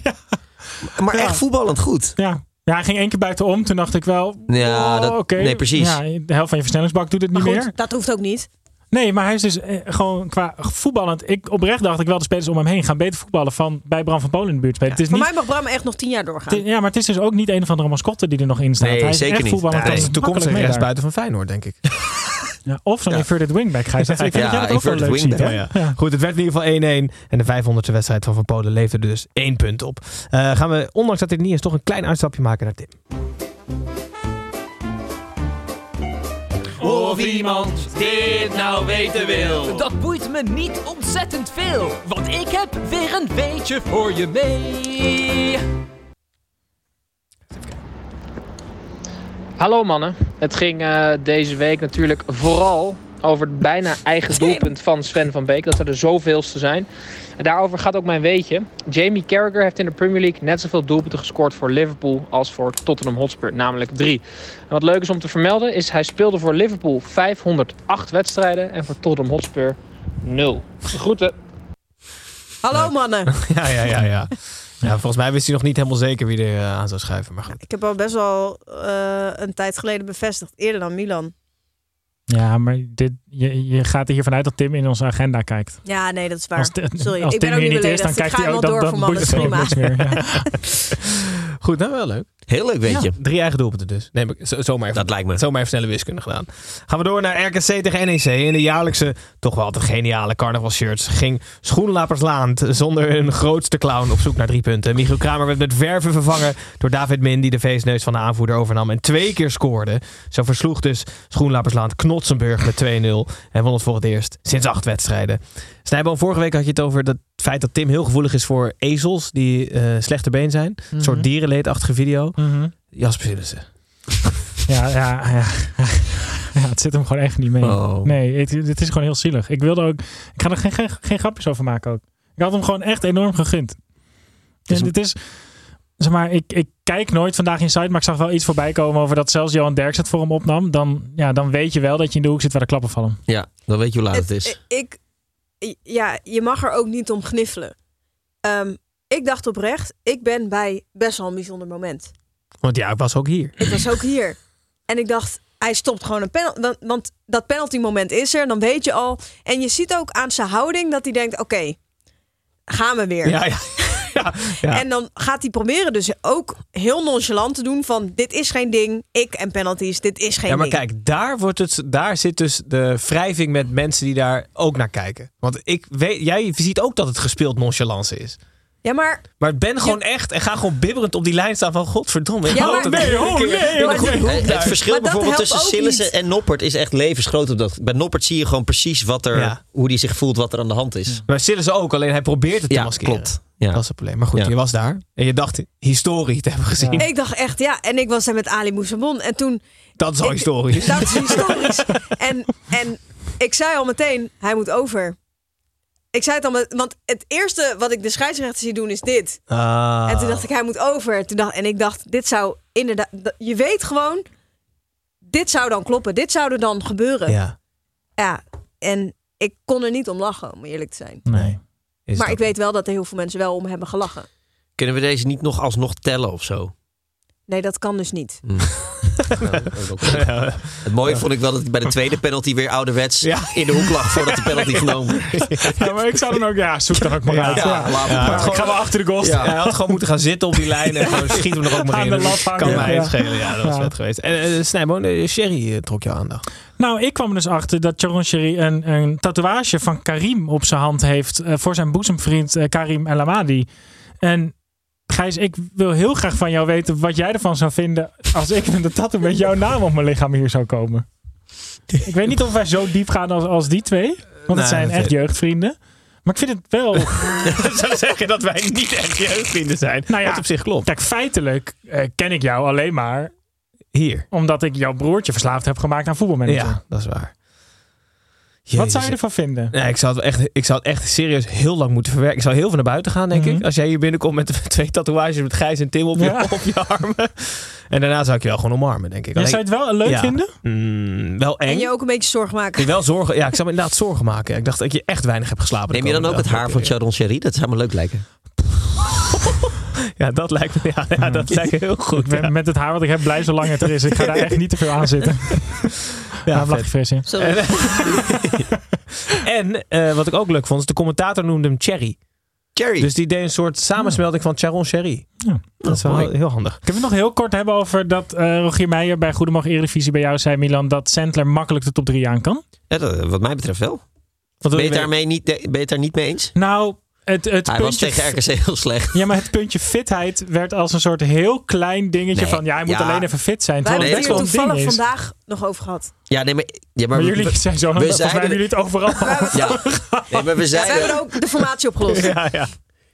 H: Maar echt voetballend goed.
I: Ja. ja, hij ging één keer buitenom. Toen dacht ik wel,
H: Ja,
I: oh,
H: dat-
I: oké.
H: nee, precies.
I: Ja, de helft van je versnellingsbak doet het
G: Maar
I: niet
G: goed,
I: meer.
G: dat hoeft ook niet.
I: Nee, maar hij is dus eh, gewoon qua voetballend. Ik oprecht dacht ik wel de spelers om hem heen gaan beter voetballen van bij Bram van Polen in de buurt spelen. Het is
G: Voor
I: niet,
G: mij mag Bram echt nog tien jaar doorgaan.
I: het- ja, maar het is dus ook niet een of andere mascotte die er nog in staat.
H: Nee,
I: hij is
H: zeker
I: echt
H: niet.
I: voetballend.
H: Ja,
I: hij
H: hij
I: is
H: is
B: De toekomst
I: makkelijk
B: ligt
I: mee
B: buiten
I: daar.
B: van Feyenoord, denk ik.
I: Ja, of zo'n
H: Ja.
I: inverted wingback. Gijs. Dat- Ik vind dat jij
H: Ja,
I: dat ook wel
H: inverted
I: leuk ziet,
H: wingback.
I: hè?
B: Ja, ja. Goed, het werd in ieder geval 1-1. En de 500ste wedstrijd van Van Polen leverde dus één punt op. Eh, gaan we, ondanks dat dit niet is, toch een klein uitstapje maken naar Tim.
C: Of iemand dit nou weten wil.
K: Dat boeit me niet ontzettend veel, want ik heb weer een beetje voor je mee.
L: Hallo mannen. Het ging eh, deze week natuurlijk vooral over het bijna eigen doelpunt van Sven van Beek. Dat er de zoveelste zijn. En daarover gaat ook mijn weetje. Jamie Carragher heeft in de Premier League net zoveel doelpunten gescoord voor Liverpool als voor Tottenham Hotspur. Namelijk drie. En wat leuk is om te vermelden is hij speelde voor Liverpool 508 wedstrijden en voor Tottenham Hotspur 0. Groeten.
G: Hallo
I: Nou.
G: mannen.
B: Ja, ja, ja, ja. ja volgens mij wist hij nog niet helemaal zeker wie er eh, aan zou schuiven. Maar goed.
G: Ik heb al best wel eh, een tijd geleden bevestigd. Eerder dan Milan.
I: Ja, maar dit, je, je gaat er hiervan uit dat Tim in onze agenda kijkt.
G: Ja, nee, dat is waar.
I: Als, de-
G: Sorry,
I: als
G: ik
I: Tim
G: ben ook
I: hier
G: niet
I: niet is,
G: beledigd.
I: dan
G: Ik
I: kijkt
G: ga
I: hij
G: hem
I: ook
G: wel door
I: dan,
G: voor
I: dan boeit
G: mannen.
I: het gewoon
G: Prima.
I: niks meer. Ja.
B: goed, nou wel leuk.
H: Heel leuk, weet
B: Ja,
H: je.
B: Drie eigen doelpunten dus. Nee, maar zo, zomaar even,
H: Dat lijkt me.
B: zomaar even snelle wiskunde gedaan. Gaan we door naar RKC tegen NEC. In de jaarlijkse, toch wel altijd geniale carnaval shirts ging Schoenlapersland zonder een grootste clown op zoek naar drie punten. Michiel Kramer werd met verven vervangen door David Min die de feestneus van de aanvoerder overnam en twee keer scoorde. Zo versloeg dus Schoenlapersland Knotsenburg met 2-0 en won het voor het eerst sinds acht wedstrijden. Snijboom, vorige week had je het over dat feit dat Tim heel gevoelig is voor ezels die eh slechte been zijn. Een soort
I: Mhm.
B: dierenleedachtige video.
I: Mhm.
B: Jasper Sillissen.
I: Ja, ja, ja. ja, het zit hem gewoon echt niet mee.
H: Oh.
I: Nee, het, het is gewoon heel zielig. Ik wilde ook. Ik ga er geen, geen, geen grapjes over maken ook. Ik had hem gewoon echt enorm gegund.
H: is
I: En
H: een-
I: het is. Zeg maar, ik, ik kijk nooit vandaag in site, maar ik zag wel iets voorbij komen over dat zelfs Johan Derks het voor hem opnam. Dan, ja, dan weet je wel dat je in de hoek zit waar de klappen vallen.
H: Ja, dan weet je hoe laat het is.
G: Het- eh, Ik, ja, je mag er ook niet om gniffelen. Ehm, ik dacht oprecht, ik ben bij best wel een bijzonder moment.
B: Want ja, ik was ook hier.
G: Ik was ook hier. En ik dacht, hij stopt gewoon een penalty. Want, want dat penalty moment is er, dan weet je al. En je ziet ook aan zijn houding dat hij denkt, oké, gaan we weer.
B: Ja, ja. ja, ja.
G: En dan gaat hij proberen dus ook heel nonchalant te doen van... dit is geen ding, ik en penalties, dit is geen
B: ja, maar
G: ding.
B: kijk, daar, wordt het, daar zit dus de wrijving met mensen die daar ook naar kijken. Want ik weet, jij ziet ook dat het gespeeld nonchalance is.
G: Ja, maar
B: Maar ben gewoon echt en ga gewoon bibberend op die lijn staan van godverdomme. ik
G: Ja,
B: hoop
G: maar-
B: dat-
G: nee, oh, nee,
B: Ik heb een
G: maar-
B: goede hoek
H: Het, het
B: daar.
H: verschil
G: Maar dat
H: bijvoorbeeld
G: helpt
H: tussen
G: ook
H: Sillissen
G: niet.
H: en Noppert is echt levensgroot. Op dat. Bij Noppert zie je gewoon precies wat er,
B: Ja.
H: hoe die zich voelt, wat er aan de hand is.
B: Maar Sillis ook, alleen hij probeert het te
H: Ja,
B: maskeren.
H: klopt. Ja.
B: Dat is het probleem. Maar goed,
H: Ja.
B: je was daar en je dacht historie te hebben gezien.
G: ik dacht echt, ja. En ik was daar met Ali Moussamon en toen...
B: Dat is al
G: Ik-
B: historisch.
G: Dat is historisch. en, en ik zei al meteen, hij moet over. Ik zei het al, met, want het eerste wat ik de scheidsrechter zie doen is dit.
B: Ah.
G: En toen dacht ik, hij moet over. Toen dacht, en ik dacht, dit zou inderdaad... dat- Je weet gewoon, dit zou dan kloppen. Dit zou er dan gebeuren.
B: Ja,
G: Ja, en ik kon er niet om lachen, om eerlijk te zijn.
I: Nee.
B: is
G: maar
B: het
G: ik weet wel dat er heel veel mensen wel om hebben gelachen.
H: Kunnen we deze niet nog alsnog tellen of zo?
G: Nee, dat kan dus niet.
H: Het mooie vond ik wel dat hij bij de tweede penalty weer ouderwets in de hoek lag voordat de penalty genomen
I: Ja, maar ik zou dan ook, ja, zoek dan ook maar
H: Ja,
I: uit.
H: ja, laat het maar.
I: ik ga wel achter de goal.
B: Ja, hij had gewoon moeten gaan zitten op die lijn en gewoon schiet hem er ook maar
I: Aan
B: in.
I: de
B: Dat
I: lat
B: kan
I: hangen.
B: mij
I: Ja.
B: het schelen. Ja, dat was
I: Ja.
B: vet geweest. En eh, Snijboon, eh, Sherry eh, trok jouw aandacht.
I: Nou, ik kwam er dus achter dat Sharon Sherry een, een tatoeage van Karim op zijn hand heeft. eh, voor zijn boezemvriend eh, Karim El Amadi. En Gijs, ik wil heel graag van jou weten wat jij ervan zou vinden. als ik met een tattoo met jouw naam op mijn lichaam hier zou komen. Ik weet niet of wij zo diep gaan als, als die twee. Want
B: Nee,
I: het zijn
B: dat
I: echt
B: weet-
I: jeugdvrienden. Maar ik vind het wel.
B: zou zeggen dat wij niet echt jeugdvrienden zijn.
I: Nou ja,
B: Wat op zich klopt.
I: Kijk, feitelijk eh, ken ik jou alleen maar.
B: Hier.
I: Omdat ik jouw broertje verslaafd heb gemaakt aan voetbalmanager.
B: Ja, dat is waar.
I: Wat zou
B: Jezus.
I: je ervan vinden?
B: Nee, ik zou, het echt, ik zou het echt serieus heel lang moeten verwerken. Ik zou heel veel naar buiten gaan, denk ik. Als jij hier binnenkomt met twee tatoeages met Gijs en Tim op je,
I: Mhm. Ja.
B: op je armen. En daarna zou ik je wel gewoon omarmen, denk ik.
I: Ja, zou je het wel leuk vinden?
B: Mm, wel eng.
G: En je ook een beetje zorg maken.
B: Ik wel zorgen, ja, ik zou me inderdaad zorgen maken. Ik dacht dat ik je echt weinig heb geslapen. de
H: Neem je dan ook
B: komende
H: het
B: dag.
H: haar van Sharon Sherry? Dat zou me leuk lijken.
B: Ja, dat lijkt me, ja, ja, dat lijkt me heel goed.
I: Ik ben
B: Ja,
I: met het haar wat ik heb blij zolang het er is. Ik ga daar echt niet te veel aan zitten.
B: Ja,
I: Ja,
B: vet.
I: fris in.
B: En, en eh, wat ik ook leuk vond, is de commentator noemde hem Cherry.
H: Cherry.
B: Dus die deed een soort samensmelding van Sharon Cherry. Dat is wel
I: mooi.
B: heel handig.
I: Kunnen we het nog heel kort hebben over dat eh, Rogier Meijer bij Goedemorgen Eredivisie bij jou zei, Milan, dat Sandler makkelijk de top 3 aan kan?
H: Ja, dat- wat mij betreft wel.
I: wil
H: ben, je
I: je
H: het daarmee niet, ben je het daar niet mee eens?
I: Nou, het, het
H: Hij was
I: puntje...
H: tegen RKC heel slecht.
I: Ja, maar het puntje fitheid werd als een soort heel klein dingetje
H: Nee,
I: van, ja, hij moet
H: ja.
I: alleen even fit zijn.
G: We
I: Terwijl
G: hebben
I: het
G: het
I: best
G: hier
I: wel een ding
G: toevallig
I: is.
G: vandaag nog over gehad.
H: Ja, nee, maar, ja,
I: Maar
H: we-
I: jullie
H: we-
I: zijn zo aan
H: we
I: het
H: zeiden-
I: jullie het overal.
H: Ja, nee, maar we
G: Ja, Dus we
H: zeiden,
G: hebben er ook de formatie opgelost.
B: Ja, ja.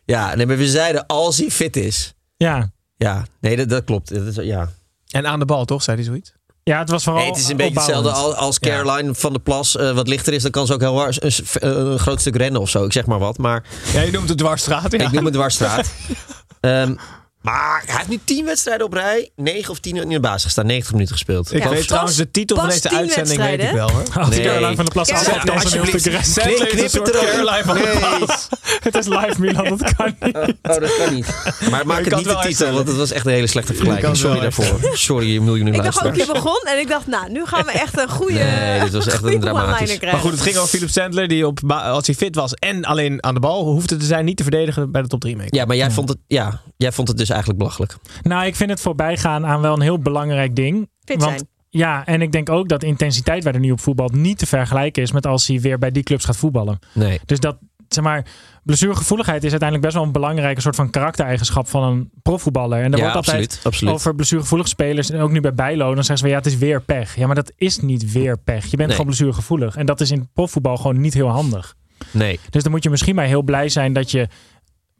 H: ja, nee, maar we zeiden als hij fit is.
I: Ja.
H: Ja, nee, dat, dat klopt. Dat is, ja.
I: Oh,
B: En aan de bal, toch? Zei hij zoiets?
I: ja, het was vooral
H: Nee, het is een beetje
I: opbouwend.
H: hetzelfde al- als Caroline van der Plas eh, wat lichter is. Dan kan ze ook heel waar- een, s- eh, een groot stuk rennen of zo. Ik zeg maar wat. Maar
B: Ja, je noemt het dwarsstraat. Ja.
H: ik noem het dwarsstraat. Ehm, maar hij heeft nu 10 wedstrijden op rij. 9 of 10 in de basis gestaan. 90 minuten gespeeld.
B: Ik
G: Ja,
B: weet
G: pas-
B: trouwens de titel van
G: pas
B: deze
G: tien
B: uitzending weet ik
G: wedstrijden,
B: wel. Hoor.
I: Als
H: Nee.
I: Caroline van der Plas
G: Caroline,
I: afvalt, dan is het
H: alsjeblieft.
I: heel stuk rest.
H: Knip-
I: Het is een
H: knip
I: soort
H: het erop.
I: Caroline van der
H: Nee.
I: Plas. Het is live, Milan, dat kan niet.
H: Oh, dat kan niet. Maar maak
B: kan
H: het
B: het
H: niet
B: wel
H: de titel,
B: herstellen.
H: want dat was echt een hele slechte
B: kan
H: vergelijking.
B: het
H: Sorry
B: wel
H: daarvoor. Sorry, miljoenen
G: Ik dacht ook,
H: luisteraars.
G: je begon en ik dacht, nou, nu gaan we echt een goede
H: Nee, dit was echt
G: goede
H: een dramatisch.
G: one-liner krijgen.
B: Maar Oh, goed, het ging over Philip Sandler, die op, ba- als hij fit was en alleen aan de bal hoefde te zijn, niet te verdedigen bij de top 3 mee.
H: Ja, maar jij, Vond het, ja, jij vond het dus eigenlijk belachelijk.
I: Nou, ik vind het voorbijgaan aan wel een heel belangrijk ding.
G: Fit
I: Want-
G: zijn.
I: Ja, en ik denk ook dat intensiteit waar er nu op voetbalt niet te vergelijken is met als hij weer bij die clubs gaat voetballen.
H: Nee.
I: Dus dat, zeg maar, blessuregevoeligheid is uiteindelijk best wel een belangrijke soort van karaktereigenschap van een profvoetballer. En er
H: Ja,
I: wordt altijd
H: absoluut, absoluut.
I: over blessuregevoelige spelers en ook nu bij Bijlo, dan zeggen ze weer, ja, het is weer pech. Ja, maar dat is niet weer pech. Je bent gewoon blessuregevoelig. En dat is in profvoetbal gewoon niet heel handig.
H: Nee.
I: Dus dan moet je misschien maar heel blij zijn dat je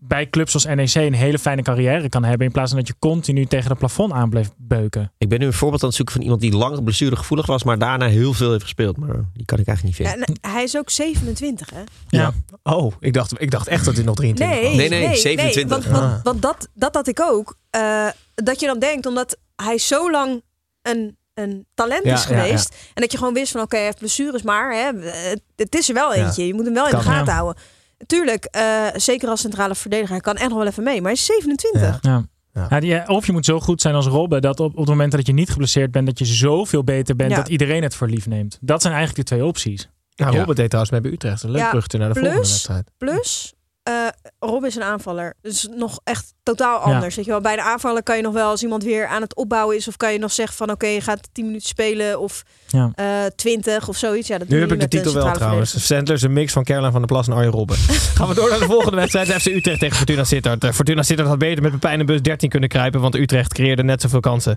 I: bij clubs als NEC een hele fijne carrière kan hebben. In plaats van dat je continu tegen het plafond aan blijft beuken.
H: Ik ben nu een voorbeeld aan het zoeken van iemand die lang blessuregevoelig was, maar daarna heel veel heeft gespeeld. Maar die kan ik eigenlijk niet
G: Ja,
H: vinden.
G: en hij is ook 27, hè?
I: Ja.
B: Oh, ik dacht, ik dacht echt dat hij nog 23
G: Nee,
H: Nee, nee, 27.
G: want want, want dat, dat had ik ook. Eh, dat je dan denkt, omdat hij zo lang een, een talent
B: Ja,
G: is
B: ja, ja.
G: geweest. En dat je gewoon wist van, oké, hij heeft blessures, maar hè, het, het is er wel
B: Ja.
G: eentje. Je moet hem wel in
B: Kan,
G: de gaten
I: ja.
G: houden. Tuurlijk, eh, zeker als centrale verdediger, hij kan echt nog wel even mee. Maar hij is 27.
B: Ja.
I: Ja.
B: Ja.
I: Ja, die- eh, of je moet zo goed zijn als Robben dat op, op het moment dat je niet geblesseerd bent, dat je zoveel beter bent
G: Ja.
I: dat iedereen het voor lief neemt. Dat zijn eigenlijk de twee opties.
B: Nou,
H: Ja.
B: Robert deed trouwens mee bij Utrecht. Een leuk
G: Ja,
B: brugje naar de
G: plus-
B: volgende wedstrijd.
G: Plus, eh Rob is een aanvaller. Dus nog echt totaal anders. Weet je wel. Bij de aanvallen kan je nog wel, als iemand weer aan het opbouwen is, of kan je nog zeggen van oké, je gaat 10 minuten spelen of
I: Ja.
G: eh 20 of zoiets. Ja,
B: Nu
G: dat doe je
B: heb ik de
G: niet met
B: titel wel
G: eh, centrale
B: trouwens. Sandler is een mix van Caroline van der Plas en Arjen Robben. Gaan we door naar de volgende wedstrijd. FC Utrecht tegen Fortuna Sittard. Eh, Fortuna Sittard had beter met Pepijn en Bus 13 kunnen kruipen. Want Utrecht creëerde net zoveel kansen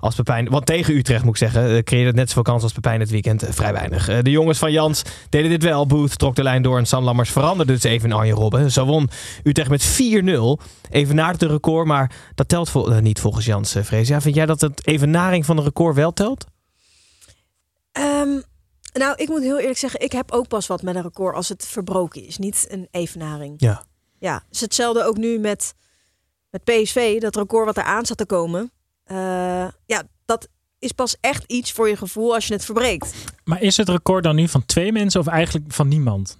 B: als Pepijn. Want tegen Utrecht moet ik zeggen. eh, Creëerde het net zoveel kansen als Pepijn het weekend. Eh, Vrij weinig. Eh, De jongens van Jans deden dit wel. Booth trok de lijn door. En Sam Lammers veranderde dus even in Arjen Robben. Zo won Utrecht met 4-0. Evenaard de record. Maar dat telt vol- eh, niet volgens Jans eh, Freesia. Vind jij dat het evenaring van een record wel telt?
G: verdediger. Ehm, nou, ik moet heel eerlijk zeggen, ik heb ook pas wat met een record als het verbroken is, niet een evenaring.
B: Ja.
G: Ja, het is hetzelfde ook nu met, met PSV, dat record wat eraan zat te komen. Eh, ja, dat is pas echt iets voor je gevoel als je het verbreekt.
I: Maar is het record dan nu van twee mensen of eigenlijk van niemand?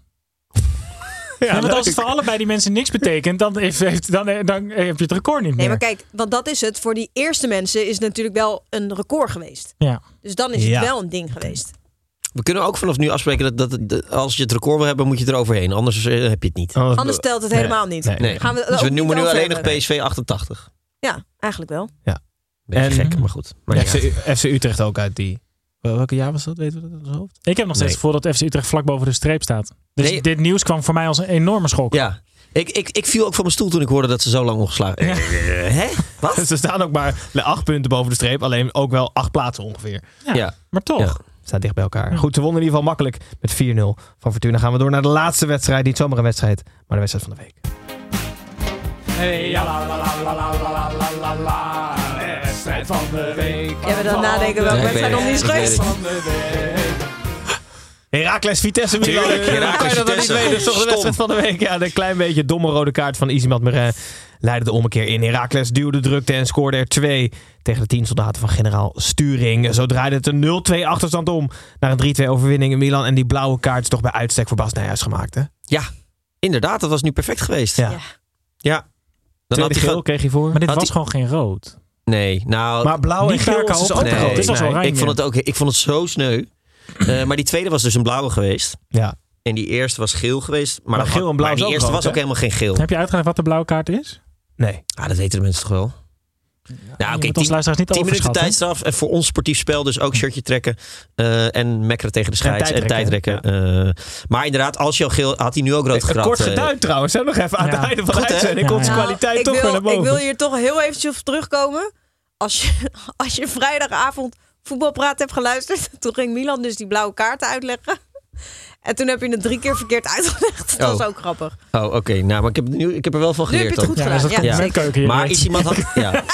I: Ja, want als het voor allebei die mensen niks betekent, dan, heeft, heeft- dan, eh, dan heb je het record niet meer.
G: Nee, maar kijk, want dat is het. Voor die eerste mensen is het natuurlijk wel een record geweest.
I: Ja.
G: Dus dan is het
H: Ja.
G: wel een ding geweest.
H: We kunnen ook vanaf nu afspreken dat, dat, dat als je het record wil hebben, moet je eroverheen. Anders eh, heb je het
B: Oh,
H: niet.
G: Anders telt het helemaal niet.
H: Nee. Nee.
G: Gaan we er
H: dus we
G: ook
H: noemen
G: niet
H: nu
G: over
H: alleen nog
G: hebben.
H: PSV 88.
G: Ja, eigenlijk wel.
H: Beetje gek, maar goed. Maar
B: FC,
H: ja.
B: FC Utrecht ook uit die... Wel- Welke jaar was dat? Weten we dat uit ons hoofd?
I: Ik heb nog steeds
B: Nee.
I: voor dat FC Utrecht vlak boven de streep staat. Dus
H: Nee.
I: dit nieuws kwam voor mij als een enorme schok.
H: Ja. Ik, ik, ik viel ook van mijn stoel toen ik hoorde dat ze zo lang ongeslagen...
I: Ja.
H: Eh, Hè? Wat?
B: Ze staan ook maar acht punten boven de streep. Alleen ook wel acht plaatsen ongeveer. Hm.
I: Ja, Maar toch.
H: Ja.
B: Staat dicht bij elkaar. Goed, ze wonnen in ieder geval makkelijk met 4-0 van Fortuna. Gaan we door naar de laatste wedstrijd. Niet zomaar een wedstrijd, maar de wedstrijd van de week.
C: Hey, ja, la, la, la, la, la, la, la, la, la. Wedstrijd van de week.
G: Ja, maar dan
B: Oh.
G: nadenken welke
C: we
G: wedstrijd nog niet is geweest.
B: Herakles Vitesse Milan.
H: Tuurlijk,
B: Eh,
H: Heracles,
B: Hoe kan je dat dan niet
H: Vitesse.
B: weten? Dat is toch de
H: Stom.
B: wedstrijd van de week. Ja, een klein beetje domme rode kaart van Isimat Meren leidde de ommekeer in. Herakles duwde, drukte en scoorde er twee tegen de tien soldaten van generaal Sturing. Zo draaide het een 0-2 achterstand om naar een 3-2 overwinning in Milan. En die blauwe kaart is toch bij uitstek voor Bas Nijhuis gemaakt, hè?
H: Ja, inderdaad. Dat was nu perfect geweest. Ja.
B: Ja.
H: Dan had hij
B: Tweede geel
H: gewoon-
B: kreeg hij voor.
I: Maar dit
H: Had
I: was
H: hij-
I: gewoon geen rood.
H: Nee, nou...
B: Maar blauw en
I: Niet
B: geel
I: Barca
B: is ook
I: opgerold.
B: rood.
I: Dit was
B: Nee.
I: oranje.
H: Ik vond het ook ik vond het zo sneu. Eh, maar die tweede was dus een blauwe geweest.
B: Ja.
H: En die eerste was geel geweest. Maar,
B: Maar
H: dat-
B: geel en blauw
H: maar
B: is
H: die
B: ook
H: eerste
B: rood,
H: was ook
B: hè?
H: helemaal geen geel.
I: Heb je uitgelegd wat de blauwe kaart is?
B: Nee.
H: Ah, dat weten de mensen toch wel? nou, oké,
I: moet ons
H: tien-
I: luisteraars niet
H: 10 minuten
I: overschatten.
H: tijdstraf. En voor ons sportief spel dus ook shirtje trekken. eh, en mekkeren tegen de scheids. En
B: tijdrekken,
H: tijdrekken. eh. maar inderdaad, als je al geel... Had hij nu ook rood gekrapt.
B: Kort
H: eh.
B: geduid trouwens, hè? Nog even aan
I: Ja.
B: het einde van de
H: Goed, hè?
B: uitzending.
I: Ja,
B: Komt zijn
I: ja.
B: Dus kwaliteit
G: Nou, ik,
B: toch weer naar
G: wil,
B: boven.
G: ik wil hier toch heel eventjes op terugkomen. Als je, als je vrijdagavond voetbalpraat hebt geluisterd, toen ging Milan dus die blauwe kaarten uitleggen. En toen heb je het drie keer verkeerd uitgelegd. Dat was
H: Oh.
G: ook grappig.
H: Oh, oké. Nou, maar ik heb, nu, ik heb er wel van
G: Nu heb je
H: geleerd.
G: het goed
H: ook.
G: gedaan.
I: dus dat
G: Ja,
I: komt met
G: zeker.
I: keuken hier.
H: Maar Isimat, had, ja.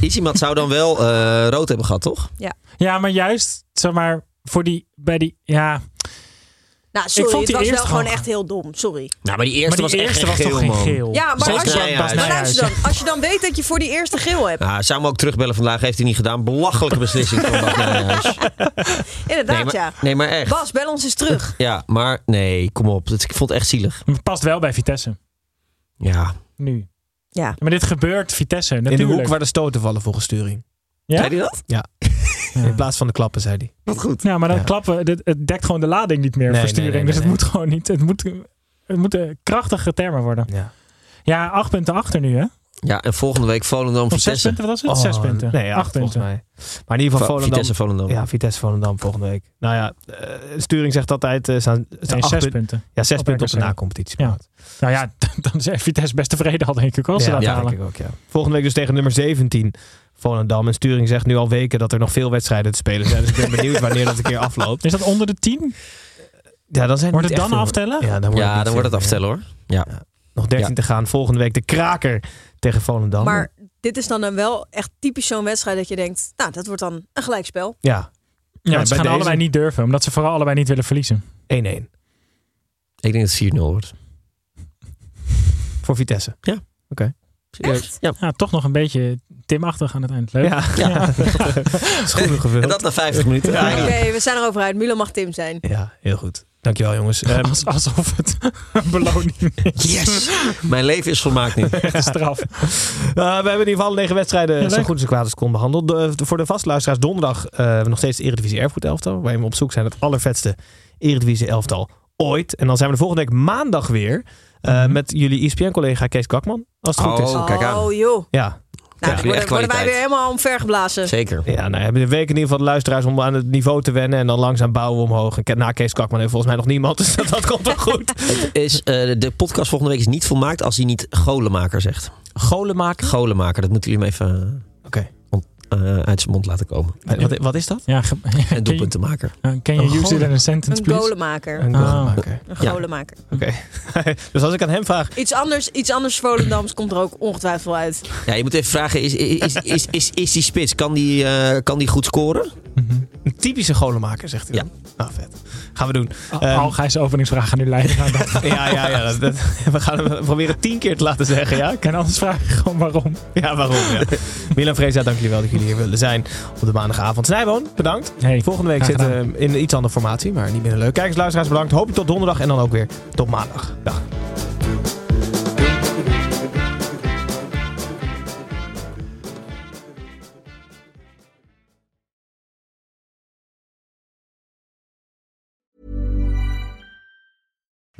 H: Isimat zou dan wel eh, rood hebben gehad, toch?
I: Ja, maar juist, zeg maar, voor die, bij die, ja.
G: Nou, sorry,
I: vond
G: het
I: die
G: was wel
I: eerste
G: gewoon
I: gewoon-
G: echt heel dom. Sorry.
H: Nou, maar die eerste
I: maar die
H: was
I: eerste
H: echt
I: was
H: geen
I: toch
H: geel,
I: geen
H: man.
I: geel?
G: Ja, maar
H: Zoals
G: als
H: Bas
G: je,
H: Nijhuis.
G: maar luister dan, als je dan weet dat je voor die eerste geel hebt.
H: Nou, zou me ook terugbellen vandaag. Heeft hij niet gedaan. Belachelijke beslissing van Bas Nijhuis.
G: Inderdaad,
H: Nee,
G: ja.
H: maar, nee, maar echt.
G: Bas, bel ons eens terug.
H: Ja, maar nee, kom op. Het- Ik vond het echt zielig.
I: Het past wel bij Vitesse,
H: Ja.
I: nu.
G: Ja.
I: Maar dit gebeurt Vitesse, natuurlijk.
B: In de hoek waar de stoten vallen volgens Sturing.
I: Ja?
H: Zei hij dat?
B: In plaats van de klappen, zei hij.
H: Wat goed.
I: Ja, maar dan
B: Ja.
I: klappen, dit, het dekt gewoon de lading niet meer
B: Nee,
I: voor
B: nee,
I: sturing.
B: nee,
I: dus
B: nee,
I: het moet gewoon niet, het, moet, het moeten krachtige termen worden.
B: Ja.
I: Ja, acht punten achter nu, hè?
H: Ja, en volgende week Volendam
I: Of zes
H: Vitesse.
I: punten, wat was het? zes punten.
B: Oh, Nee, ja,
I: acht
B: volgens
I: punten.
B: mij. Maar in ieder geval
H: Va-
B: Volendam.
H: Vitesse Volendam.
B: Ja, Vitesse Volendam volgende week. Nou ja, eh, Sturing zegt altijd... eh, staan, staan
I: Nee,
B: acht
I: zes
B: punt-
I: punten.
B: Ja, zes
I: Op
B: punten op
I: RKC.
B: de na-competitie.
I: Ja. Nou ja, dan is Vitesse best tevreden al, denk ik, als ze
B: Ja,
I: dat
B: ja,
I: halen.
B: denk ik ook, ja. Volgende week dus tegen nummer 17 Volendam. En Sturing zegt nu al weken dat er nog veel wedstrijden te spelen zijn. Dus ik ben benieuwd wanneer dat een keer afloopt.
I: Is dat onder de tien?
B: Ja, dan zijn er
I: Wordt
B: niet
I: het
B: echt
I: dan
B: veel-
I: aftellen?
B: Ja, dan wordt
H: Ja,
B: niet
H: dan wordt het
B: veel meer.
H: aftellen hoor. Ja.
B: Nog 13
H: Ja.
B: te gaan. Volgende week de kraker tegen
H: Oh.
B: Volendam.
G: Maar dit is dan, dan wel echt typisch zo'n wedstrijd dat je denkt, nou, dat wordt dan een gelijkspel.
B: ja,
I: Ja,
B: Ja,
I: want ze
B: bij
I: gaan
B: deze-
I: allebei niet durven, omdat ze vooral allebei niet willen verliezen.
B: 1-1
H: Ik denk dat het 4-0 wordt.
B: voor Vitesse.
G: Echt?
H: Ja.
I: Ja, toch nog een beetje Timachtig aan het eind. Leuk.
B: Ja, ja. schoenen gevuld.
H: En dat na 50 minuten.
G: Oké,
H: Ja.
G: we zijn erover uit. Milan mag Tim zijn.
B: Ja, heel goed. Dankjewel jongens. Ehm,
I: Als- alsof het een beloning is.
H: Yes! Mijn leven is volmaakt nu.
I: Echt een straf.
B: eh, we hebben in ieder geval negen wedstrijden
I: Ja,
B: zo
I: leuk.
B: goed als kwaad als kon behandeld. De- eh, voor de vaste luisteraars donderdag eh, hebben we nog steeds de Eredivisie Erfgoed elftal. Waarin we op zoek zijn naar het allervetste Eredivisie elftal ooit. En dan zijn we de volgende week maandag weer. eh,
I: Mhm.
B: Met jullie ESPN-collega Kees Kwakman. Als het goed is.
H: Oh, kijk aan.
G: Oh, joh.
B: Ja,
G: Nou,
H: Ja,
G: dan worden,
H: echt
G: worden wij
H: kwaliteit.
G: weer helemaal omvergeblazen.
H: Zeker.
B: Ja, nou, we hebben de week in ieder geval de luisteraars om aan het niveau te wennen. En dan langzaam bouwen we omhoog. En ke- na Kees Kwakman heeft volgens mij nog niemand. Dus dat, dat komt wel goed.
H: Het is, eh, de podcast volgende week is niet volmaakt als hij niet golenmaker zegt.
B: Golenmaker.
H: Golenmaker, dat moeten jullie hem even
B: Oké.
H: eh, uit zijn mond laten komen.
B: Wat, wat is dat?
I: Ja, ge-
H: En
I: ken je,
H: doelpuntenmaker.
I: eh, ken je
B: Oh, Een
I: use it in a sentence,
G: Een
I: please?
G: golenmaker.
B: Een
I: Ah.
B: golenmaker.
G: Een
H: Ja.
G: golenmaker.
B: Oké. dus als ik aan hem vraag...
G: Iets anders, iets anders Volendams komt er ook ongetwijfeld wel uit.
H: Ja, je moet even vragen, is, is, is, is, is die spits, kan die, eh, kan die goed scoren?
B: Een typische golenmaker, zegt hij.
H: Ja.
B: dan. Nou, vet. Gaan we doen.
I: Al- Algijs openingsvraag aan nu leiden. aan dat.
B: Ehm, ja, ja, ja. dat- dat- we gaan hem proberen tien keer te laten zeggen, ja?
I: En anders vraag ik gewoon waarom.
B: Ja, waarom? Ja. Milan Freza, dank jullie wel dat jullie hier willen zijn op de maandagavond. Snijboon, bedankt.
I: Hey,
B: Volgende week
I: graag
B: zitten
I: gedaan.
B: we in een iets andere formatie, maar niet minder leuk. Kijkers, luisteraars, bedankt. Hoop je tot donderdag en dan ook weer tot maandag. Dag.